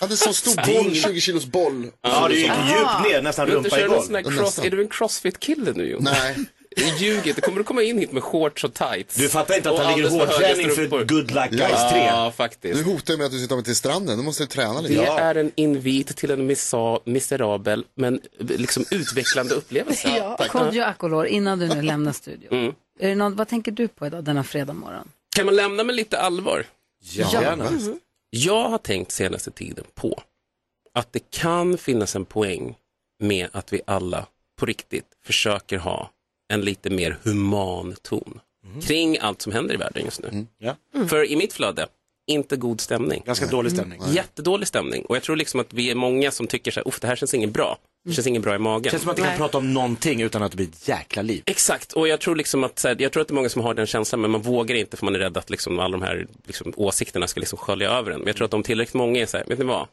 Speaker 3: det är så stor
Speaker 8: Det är
Speaker 3: boll,
Speaker 8: ingen-
Speaker 3: 20 kilos boll.
Speaker 8: Ja, det gick
Speaker 4: Aha.
Speaker 8: djupt ner, nästan
Speaker 14: Men du
Speaker 8: rumpa i
Speaker 14: kör någon
Speaker 8: golv.
Speaker 14: sån här cross, är du en crossfit-kille nu Jonas?
Speaker 3: Nej.
Speaker 14: Du ljuger inte, kommer du komma in hit med shorts och tights?
Speaker 8: Du fattar inte att
Speaker 14: Och
Speaker 8: han ligger i
Speaker 14: alldeles för höga
Speaker 8: hårdträning för
Speaker 14: strumpor.
Speaker 8: Good Luck Guys 3.
Speaker 14: Ja, faktiskt.
Speaker 3: Du hotar ju med att du ska ta mig till stranden, då måste jag träna
Speaker 14: Det
Speaker 3: lite.
Speaker 14: är en invit till en misa, miserabel men liksom utvecklande upplevelse.
Speaker 2: Ja, Kodjo Akolor, innan du nu lämnar studion.
Speaker 14: Mm.
Speaker 2: Är det något, vad tänker du på idag denna fredag morgon?
Speaker 14: Kan man lämna med lite allvar?
Speaker 2: Ja, Ja. gärna. Mhm.
Speaker 14: Jag har tänkt senaste tiden på att det kan finnas en poäng med att vi alla på riktigt försöker ha en lite mer human ton
Speaker 8: Mm-hmm.
Speaker 14: kring allt som händer i världen just nu. För i mitt flöde, inte god stämning.
Speaker 8: Mm. Ganska dålig stämning.
Speaker 14: Jättedålig stämning. Och jag tror liksom att vi är många som tycker så här, "Uff, det här känns inget bra. Det känns inget bra i magen.
Speaker 8: Känns som att du kan prata om någonting utan att det blir ett jäkla liv.
Speaker 14: Exakt, och jag tror, liksom att, så här, jag tror att det är många som har den känslan men man vågar inte för man är rädd att liksom, alla de här liksom, åsikterna ska liksom, skölja över en. Men jag tror att om tillräckligt många är så här, vet ni vad,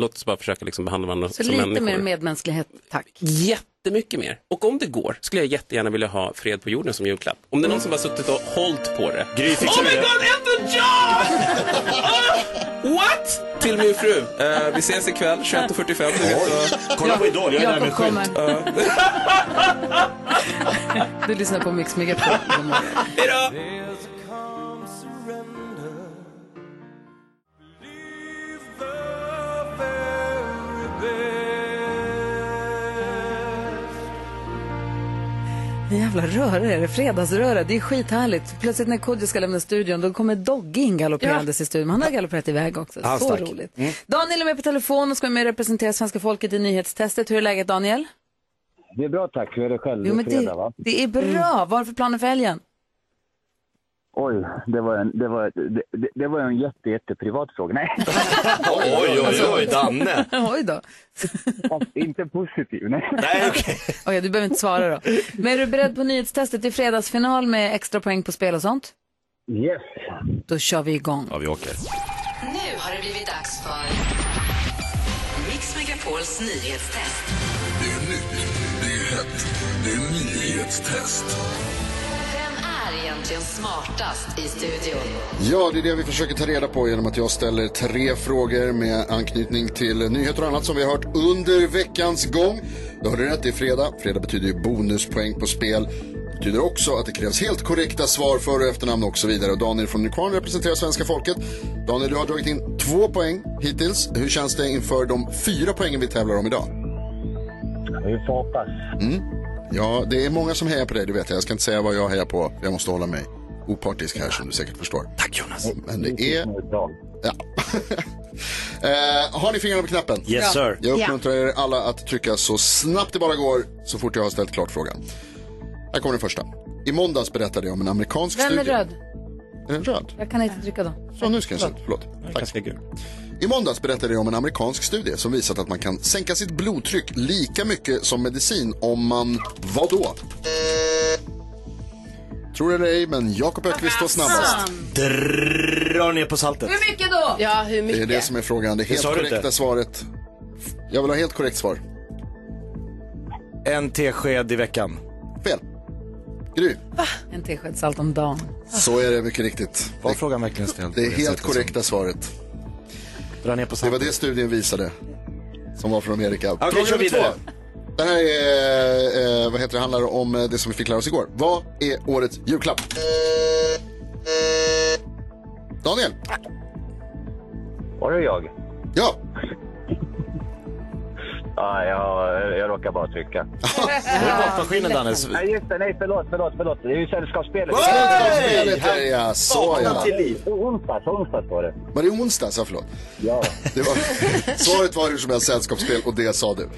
Speaker 14: låt oss bara försöka liksom, behandla varandra
Speaker 2: Så
Speaker 14: som
Speaker 2: lite
Speaker 14: människor.
Speaker 2: mer medmänsklighet, tack.
Speaker 14: Jättemycket mer. Och om det går skulle jag jättegärna vilja ha fred på jorden som julklapp. Om det är någon som har suttit och hållit på det.
Speaker 8: Gry
Speaker 14: oh my god,
Speaker 12: Elton John!
Speaker 14: What? Till min fru. Eh, vi ses ikväll 21.45. Du vet, så-
Speaker 8: Kolla på Idol, jag är där med en
Speaker 2: Jakob kommer.
Speaker 8: skylt. Eh,
Speaker 2: Du lyssnar på Mix Megapol. God morgon. En Jävla röra är det, fredagsröra. Det är skithärligt. Plötsligt när Kodjo ska lämna studion då kommer Dogge in galopperandes i studion. Han har galopperat iväg också.
Speaker 1: Ja,
Speaker 2: Så
Speaker 1: stack.
Speaker 2: roligt.
Speaker 3: Mm.
Speaker 2: Daniel är med på telefon och ska vara med och representera svenska folket i nyhetstestet. Hur är läget Daniel?
Speaker 1: Det är bra tack. Hur är det själv?
Speaker 2: Jo, men
Speaker 1: det är fredag, va? Mm.
Speaker 2: Det är bra. Vad har du för planer för helgen?
Speaker 1: Oj, det var en, det var, det, det, det var en jätte, jätte privat fråga. Nej.
Speaker 8: Oj, oj, oj, Danne.
Speaker 2: Alltså- Oj då.
Speaker 1: Fast inte positiv. Nej.
Speaker 2: Okej, du behöver inte svara då. Men är du beredd på nyhetstestet i fredagsfinal med extra poäng på spel och sånt?
Speaker 1: Yes.
Speaker 2: Då kör vi igång.
Speaker 8: Ja, vi åker.
Speaker 13: Nu har det blivit dags för Mix Megapols nyhetstest.
Speaker 23: Det är nytt, det är hett, det är nyhetstest.
Speaker 13: Vem är egentligen smartast i studion?
Speaker 3: Ja, det är det vi försöker ta reda på genom att jag ställer tre frågor med anknytning till nyheter och annat som vi har hört under veckans gång. Du hörde rätt, det är fredag. Fredag betyder ju bonuspoäng på spel. Det betyder också att det krävs helt korrekta svar, för och efternamn och så vidare. Och Daniel från Nykvarn representerar svenska folket. Daniel, du har dragit in två poäng hittills. Hur känns det inför de fyra poängen vi tävlar om idag?
Speaker 1: Vi får hoppas.
Speaker 3: Mm. Ja, det är många som hejar på dig, du vet jag. Jag ska inte säga vad jag hejar på. Jag måste hålla mig opartisk här som du säkert förstår. Tack Jonas. Men det är... Ja. eh, har ni fingrarna på knappen?
Speaker 8: Yes, Ja. sir.
Speaker 3: Jag uppmuntrar er alla att trycka så snabbt det bara går så fort jag har ställt klart frågan. Här kommer den första. I måndags berättade jag om en amerikansk
Speaker 2: Vem
Speaker 3: studie.
Speaker 2: är röd?
Speaker 3: Är den röd?
Speaker 2: Jag kan inte trycka då.
Speaker 3: Så nu ska jag se. Förlåt. Tack. I måndags berättade jag om en amerikansk studie som visat att man kan sänka sitt blodtryck lika mycket som medicin om man... Vad då? Tror det eller ej, men Jakob Ökvist var snabbast.
Speaker 8: Drar ner på saltet.
Speaker 4: Hur mycket då? Ja, hur
Speaker 3: Det är
Speaker 4: mycket?
Speaker 3: det som är frågan. Det
Speaker 8: Det
Speaker 3: helt
Speaker 8: sa du
Speaker 3: korrekta
Speaker 8: inte.
Speaker 3: svaret. Jag vill ha helt korrekt svar.
Speaker 8: En tesked i veckan.
Speaker 3: Gry.
Speaker 2: En tesked salt om dagen.
Speaker 3: Så är det mycket riktigt.
Speaker 8: Var frågan verkligen ställd?
Speaker 3: Det är
Speaker 8: på det
Speaker 3: helt
Speaker 8: sättet
Speaker 3: korrekta svaret.
Speaker 8: Dra ner på
Speaker 3: det var det studien visade. Som var från Amerika.
Speaker 8: Okej,
Speaker 3: Fråga
Speaker 8: kör
Speaker 3: nummer
Speaker 8: vidare.
Speaker 3: två. Den här är, eh, vad heter det, handlar om eh, det som vi fick lära oss igår. Vad är årets julklapp? Daniel?
Speaker 1: Var det jag?
Speaker 3: Ja.
Speaker 1: Ja, jag, jag råkar bara trycka.
Speaker 8: Ah, Var det bortmaskinen Danne?
Speaker 1: Nej, just det. Nej, förlåt, förlåt, förlåt. Det är ju sällskapsspelet.
Speaker 3: Hey! Sällskapsspelet är det, ja. Så,
Speaker 1: Vakna
Speaker 3: ja.
Speaker 1: till liv. Onsdags, onsdags var det.
Speaker 3: Var det onsdags? Ja, förlåt.
Speaker 1: Ja.
Speaker 3: Det var, svaret var hur som helst sällskapsspel och det sa du.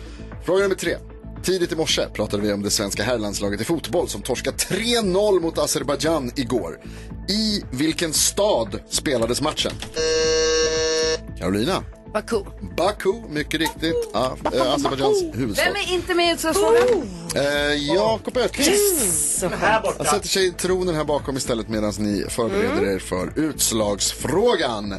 Speaker 3: Fråga nummer tre. Tidigt i morse pratade vi om det svenska herrlandslaget i fotboll som torskade 3-0 mot Azerbajdzjan igår. I vilken stad spelades matchen? Carolina?
Speaker 4: Baku.
Speaker 3: Baku, mycket riktigt. Ah, eh, Azerbajdzjans huvudstad.
Speaker 2: Vem är inte med i
Speaker 8: Oh!
Speaker 2: utslagsfrågan?
Speaker 3: Eh, Jakob Öqvist.
Speaker 2: Så skönt.
Speaker 3: Han sätter sig i tronen här bakom istället medan ni förbereder er för utslagsfrågan.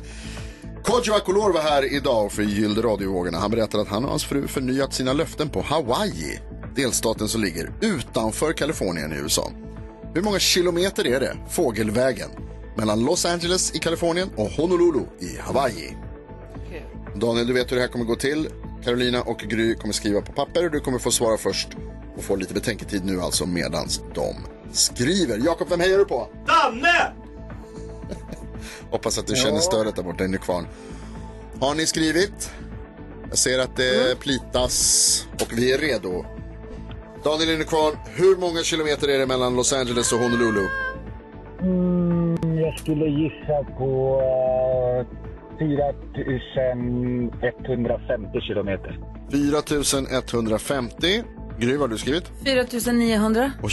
Speaker 3: Kodjo Akolor var här idag och förgyllde radiovågorna. Han berättade att han och hans fru förnyat sina löften på Hawaii, delstaten som ligger utanför Kalifornien i USA. Hur många kilometer är det, fågelvägen, mellan Los Angeles i Kalifornien och Honolulu i Hawaii? Daniel, du vet hur det här kommer gå till. Carolina och Gry kommer skriva på papper och du kommer få svara först och få lite betänketid nu alltså medans de skriver. Jakob, vem hejar du på?
Speaker 8: Danne!
Speaker 3: Hoppas att du känner stödet där borta inne i kvarn. Har ni skrivit? Jag ser att det plitas och vi är redo. Daniel inne i kvarn, hur många kilometer är det mellan Los Angeles och Honolulu?
Speaker 1: Mm, jag skulle gissa på eh, 4150 kilometer.
Speaker 3: 4150. Gry, vad har du skrivit?
Speaker 2: 4900.
Speaker 3: Oj,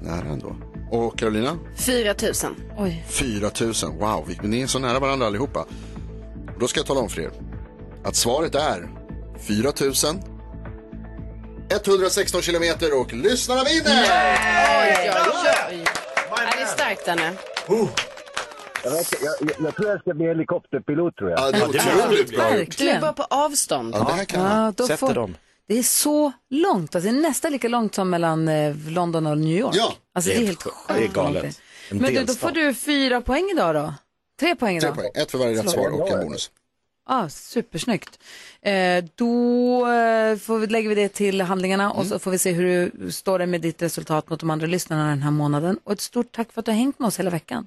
Speaker 3: nära ändå. Och Carolina?
Speaker 15: 4 000.
Speaker 2: Oj.
Speaker 3: 4 000. Wow, vi- ni är så nära varandra allihopa. Och Då ska jag tala om för er att svaret är 4 000 116 kilometer och lyssnarna vinner!
Speaker 15: Oj, oj, oj. Ja, det är starkt, Danne.
Speaker 1: Jag, vet, inte, jag, jag, jag tror jag ska bli helikopterpilot tror jag.
Speaker 3: Ja, det är otroligt bra gjort.
Speaker 15: Du är bara på avstånd.
Speaker 3: Ja, det här kan man.
Speaker 2: då
Speaker 3: Sätter
Speaker 2: får-
Speaker 3: dem.
Speaker 2: Det är så långt, alltså, det är nästan lika långt som mellan eh, London och New York.
Speaker 3: Ja,
Speaker 2: alltså, det är helt sjukt.
Speaker 8: Det är
Speaker 2: långt det är.
Speaker 8: galet. En
Speaker 2: Men du, då
Speaker 8: delstat.
Speaker 2: får du fyra poäng idag då? Tre poäng
Speaker 3: Tre
Speaker 2: idag?
Speaker 3: poäng, ett för varje rätt svar och en bonus.
Speaker 2: Ah, supersnyggt. Eh, då eh, får vi, lägger vi det till handlingarna och
Speaker 3: Mm.
Speaker 2: så får vi se hur du står det med ditt resultat mot de andra lyssnarna den här månaden. Och ett stort tack för att du har hängt med oss hela veckan.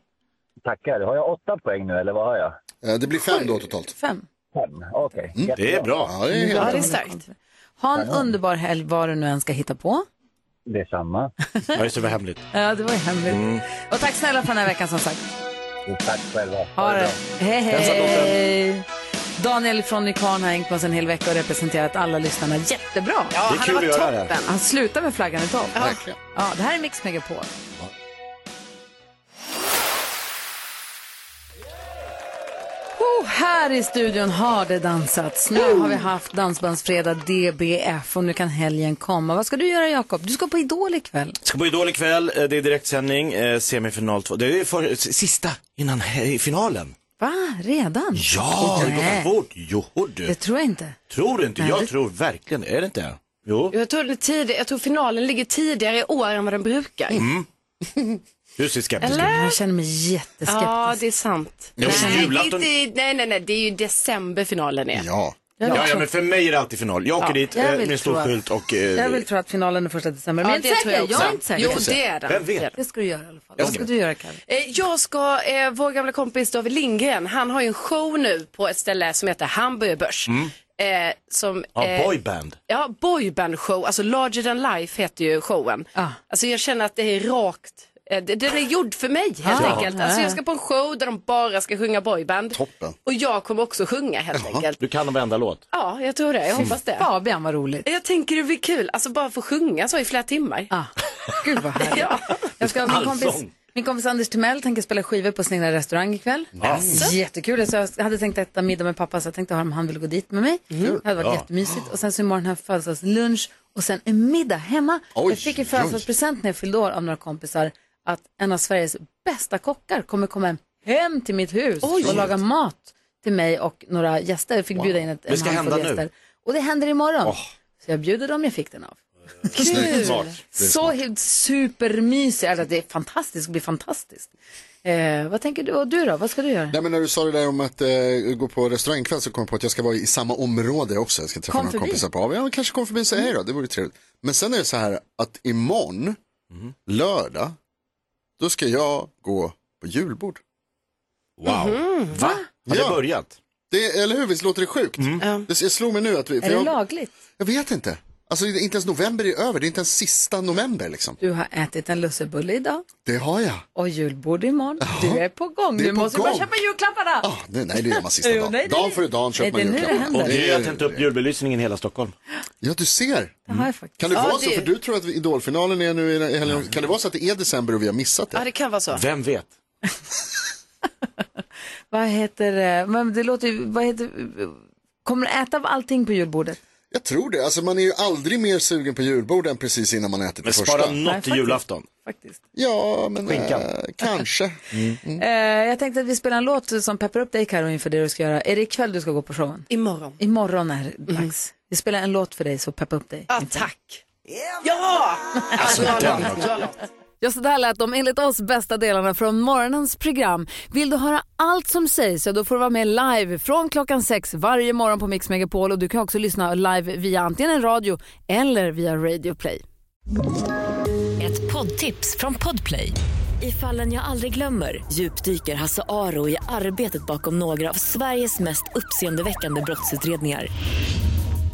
Speaker 1: Tackar. Har jag åtta poäng nu eller vad har jag?
Speaker 3: Eh, Det blir fem då totalt. Mm,
Speaker 2: Fem.
Speaker 1: Fem, okej.
Speaker 3: det är bra. Ja, det är helt
Speaker 2: Ja, det är
Speaker 3: rätt.
Speaker 2: starkt. Ha en underbar helg vad du nu än ska hitta på.
Speaker 1: Detsamma.
Speaker 8: Ja, just det, var hemligt.
Speaker 2: Ja, det var ju hemligt.
Speaker 8: Mm.
Speaker 2: Och tack snälla för den här veckan som sagt.
Speaker 1: Tack själva.
Speaker 2: Ha det. Hej,
Speaker 1: Hälsa dottern.
Speaker 2: hej. Daniel från Nykvarn har hängt på oss en hel vecka och representerat alla lyssnarna jättebra.
Speaker 4: Ja, Det är han kul har varit att göra det. toppen.
Speaker 2: Han slutar med flaggan i topp.
Speaker 4: Ja. Verkligen.
Speaker 2: Ja, det här är Mix Megapol. Oh, här i studion har det dansats. Nu har vi haft Dansbandsfredag DBF och nu kan helgen komma. Vad ska du göra Jakob? Du ska på Idol ikväll.
Speaker 8: Ska på Idol ikväll, eh, det är direktsändning, eh, semifinal 2. Det är för, sista innan he- finalen.
Speaker 2: Va? Redan?
Speaker 8: Ja, det går
Speaker 2: Nej,
Speaker 8: fort. Joho du.
Speaker 2: det tror jag inte.
Speaker 8: Tror du inte?
Speaker 2: Nej,
Speaker 8: jag
Speaker 2: det-
Speaker 8: tror verkligen det. Är det inte? Jo.
Speaker 4: Jag tror, det tid, jag tror finalen ligger tidigare i år än vad den brukar.
Speaker 8: Mm. Du ser skeptisk ut.
Speaker 4: Eller?
Speaker 2: Jag känner mig jätteskeptisk.
Speaker 4: Ja, det är sant.
Speaker 8: Ja, men
Speaker 4: nej,
Speaker 8: julafton-
Speaker 4: det är inte, nej, nej, nej, det är ju december finalen är.
Speaker 8: Ja.
Speaker 2: Jag
Speaker 8: Ja,
Speaker 2: vill
Speaker 8: ja,
Speaker 2: tro-
Speaker 8: men för mig är det alltid final. Jag åker
Speaker 2: Ja,
Speaker 8: dit
Speaker 2: jag
Speaker 8: eh,
Speaker 2: vill
Speaker 8: med en stor
Speaker 2: tro att-
Speaker 8: skylt och... eh,
Speaker 2: Jag vill tro att finalen är första december.
Speaker 4: Ja,
Speaker 2: Men jag är
Speaker 4: det
Speaker 2: inte
Speaker 4: tror
Speaker 2: säker.
Speaker 4: jag
Speaker 2: Jag,
Speaker 4: också.
Speaker 2: är inte säker.
Speaker 4: Jo, det är den. Vem vet?
Speaker 2: Det ska du göra i alla fall.
Speaker 4: Jag
Speaker 2: Vad
Speaker 4: ska-
Speaker 2: ska du göra, Kalle?
Speaker 4: Eh, Jag ska, eh, vår gamla kompis David Lindgren, han har ju en show nu på ett ställe som heter Hamburger Börs.
Speaker 8: Mm.
Speaker 4: Eh, som,
Speaker 8: Ja,
Speaker 4: eh,
Speaker 8: boyband.
Speaker 4: Ja, boyband show, alltså Larger than life heter ju showen.
Speaker 2: Ah.
Speaker 4: Alltså jag känner att det är rakt, eh, det- den är gjord för mig helt
Speaker 3: Ja.
Speaker 4: enkelt. Alltså jag ska på en show där de bara ska sjunga boyband.
Speaker 3: Toppen.
Speaker 4: Och jag kommer också sjunga helt enkelt.
Speaker 8: Du kan varenda låt.
Speaker 4: Ja, jag tror det, jag hoppas det.
Speaker 2: Fabian, vad roligt.
Speaker 4: Jag tänker det blir kul, alltså bara få sjunga så i flera timmar.
Speaker 2: Ah. Gud vad härligt. Jag ska, min,
Speaker 4: Allsång.
Speaker 2: kompis, min kompis Anders Timell tänker spela skivor på Snilla restaurang ikväll. Alltså.
Speaker 4: Ja.
Speaker 2: Jättekul. Så jag hade tänkt äta middag med pappa så jag tänkte höra om han ville gå dit med mig.
Speaker 8: Mm.
Speaker 2: Det hade varit
Speaker 4: Ja.
Speaker 2: jättemysigt. Och sen så imorgon har jag födelsedagslunch och sen en middag hemma.
Speaker 4: Oj,
Speaker 2: jag fick en födelsedagspresent när jag fyllde år av några kompisar att en av Sveriges bästa kockar kommer komma hem till mitt hus och laga mat till mig och några gäster. Jag fick bjuda in ett,
Speaker 8: Det ska
Speaker 2: en handfull
Speaker 8: hända nu.
Speaker 2: gäster. Och det händer imorgon.
Speaker 8: Åh.
Speaker 2: Så jag bjuder dem jag fick den av.
Speaker 8: Snyggt. Smart. Det är
Speaker 2: Så helt supermysigt. Alltså, det är fantastiskt, det blir fantastiskt. Eh, vad tänker du, och du då? Vad ska du göra?
Speaker 3: Nej men när du sa det där om att eh, gå på restaurangkväll så kom jag på att jag ska vara i samma område också. Jag ska träffa
Speaker 2: Kom
Speaker 3: några
Speaker 2: förbi.
Speaker 3: kompisar på av. Ja, kanske kom förbi och säga hej då, det vore trevligt. Men sen är det så här att imorgon, lördag, då ska jag gå på julbord.
Speaker 8: Wow.
Speaker 2: Mhm,
Speaker 8: Va? Har det börjat? Mm.
Speaker 3: Det, eller hur, visst låter det sjukt? Det, jag slog mig nu att vi...
Speaker 2: är det
Speaker 3: jag,
Speaker 2: lagligt?
Speaker 3: jag vet inte. Alltså det är inte ens november är över, det är inte ens sista november liksom.
Speaker 2: Du har ätit en lussebulle idag
Speaker 3: Det har jag.
Speaker 2: och julbord imorgon. Du är på gång.
Speaker 3: det är
Speaker 2: Du
Speaker 3: på
Speaker 2: måste bara
Speaker 3: gång. Ah,
Speaker 2: köpa julklapparna.
Speaker 3: Nej, nej det gör man sista
Speaker 2: Jo,
Speaker 3: dagen.
Speaker 2: nej, det-
Speaker 3: dag för dag
Speaker 2: nej,
Speaker 3: köper
Speaker 2: det är
Speaker 3: man
Speaker 2: nu det
Speaker 3: julklappar.
Speaker 2: händer.
Speaker 8: Och det har tänkt upp julbelysningen i hela Stockholm.
Speaker 3: Ja, du ser.
Speaker 2: Det har jag faktiskt.
Speaker 3: Kan det
Speaker 4: Ja,
Speaker 3: vara
Speaker 4: det-
Speaker 3: så? För du tror att idolfinalen är nu i i helgen. Kan det vara så att det är december och vi har missat det?
Speaker 4: Ja, det kan vara så.
Speaker 8: Vem vet?
Speaker 2: Vad heter det? Men det låter ju, vad heter, kommer du äta av allting på julbordet?
Speaker 3: Jag tror det. Alltså man är ju aldrig mer sugen på julbord än precis innan man ätit
Speaker 8: Men
Speaker 3: det första.
Speaker 8: spara något till julafton.
Speaker 3: Ja, men
Speaker 8: Skinkan.
Speaker 3: eh, kanske. Mm.
Speaker 2: Eh, jag tänkte att vi spelar en låt som peppar upp dig Karo inför det du ska göra. Är det ikväll du ska gå på showen?
Speaker 4: Imorgon. Mm.
Speaker 2: Imorgon är det dags. Vi spelar en låt för dig så peppar upp dig.
Speaker 4: Ja, tack. Ja!
Speaker 2: Alltså,
Speaker 4: Bra
Speaker 2: den
Speaker 4: låt,
Speaker 2: också.
Speaker 4: bra låt.
Speaker 2: Ja, så där lät de enligt oss bästa delarna från morgonens program. Vill du höra allt som sägs så då får du vara med live från klockan sex varje morgon på Mix Megapol och du kan också lyssna live via antingen en radio eller via Radio Play.
Speaker 24: Ett poddtips från Podplay. I fallen jag aldrig glömmer djupdyker Hasse Aro i arbetet bakom några av Sveriges mest uppseendeväckande brottsutredningar.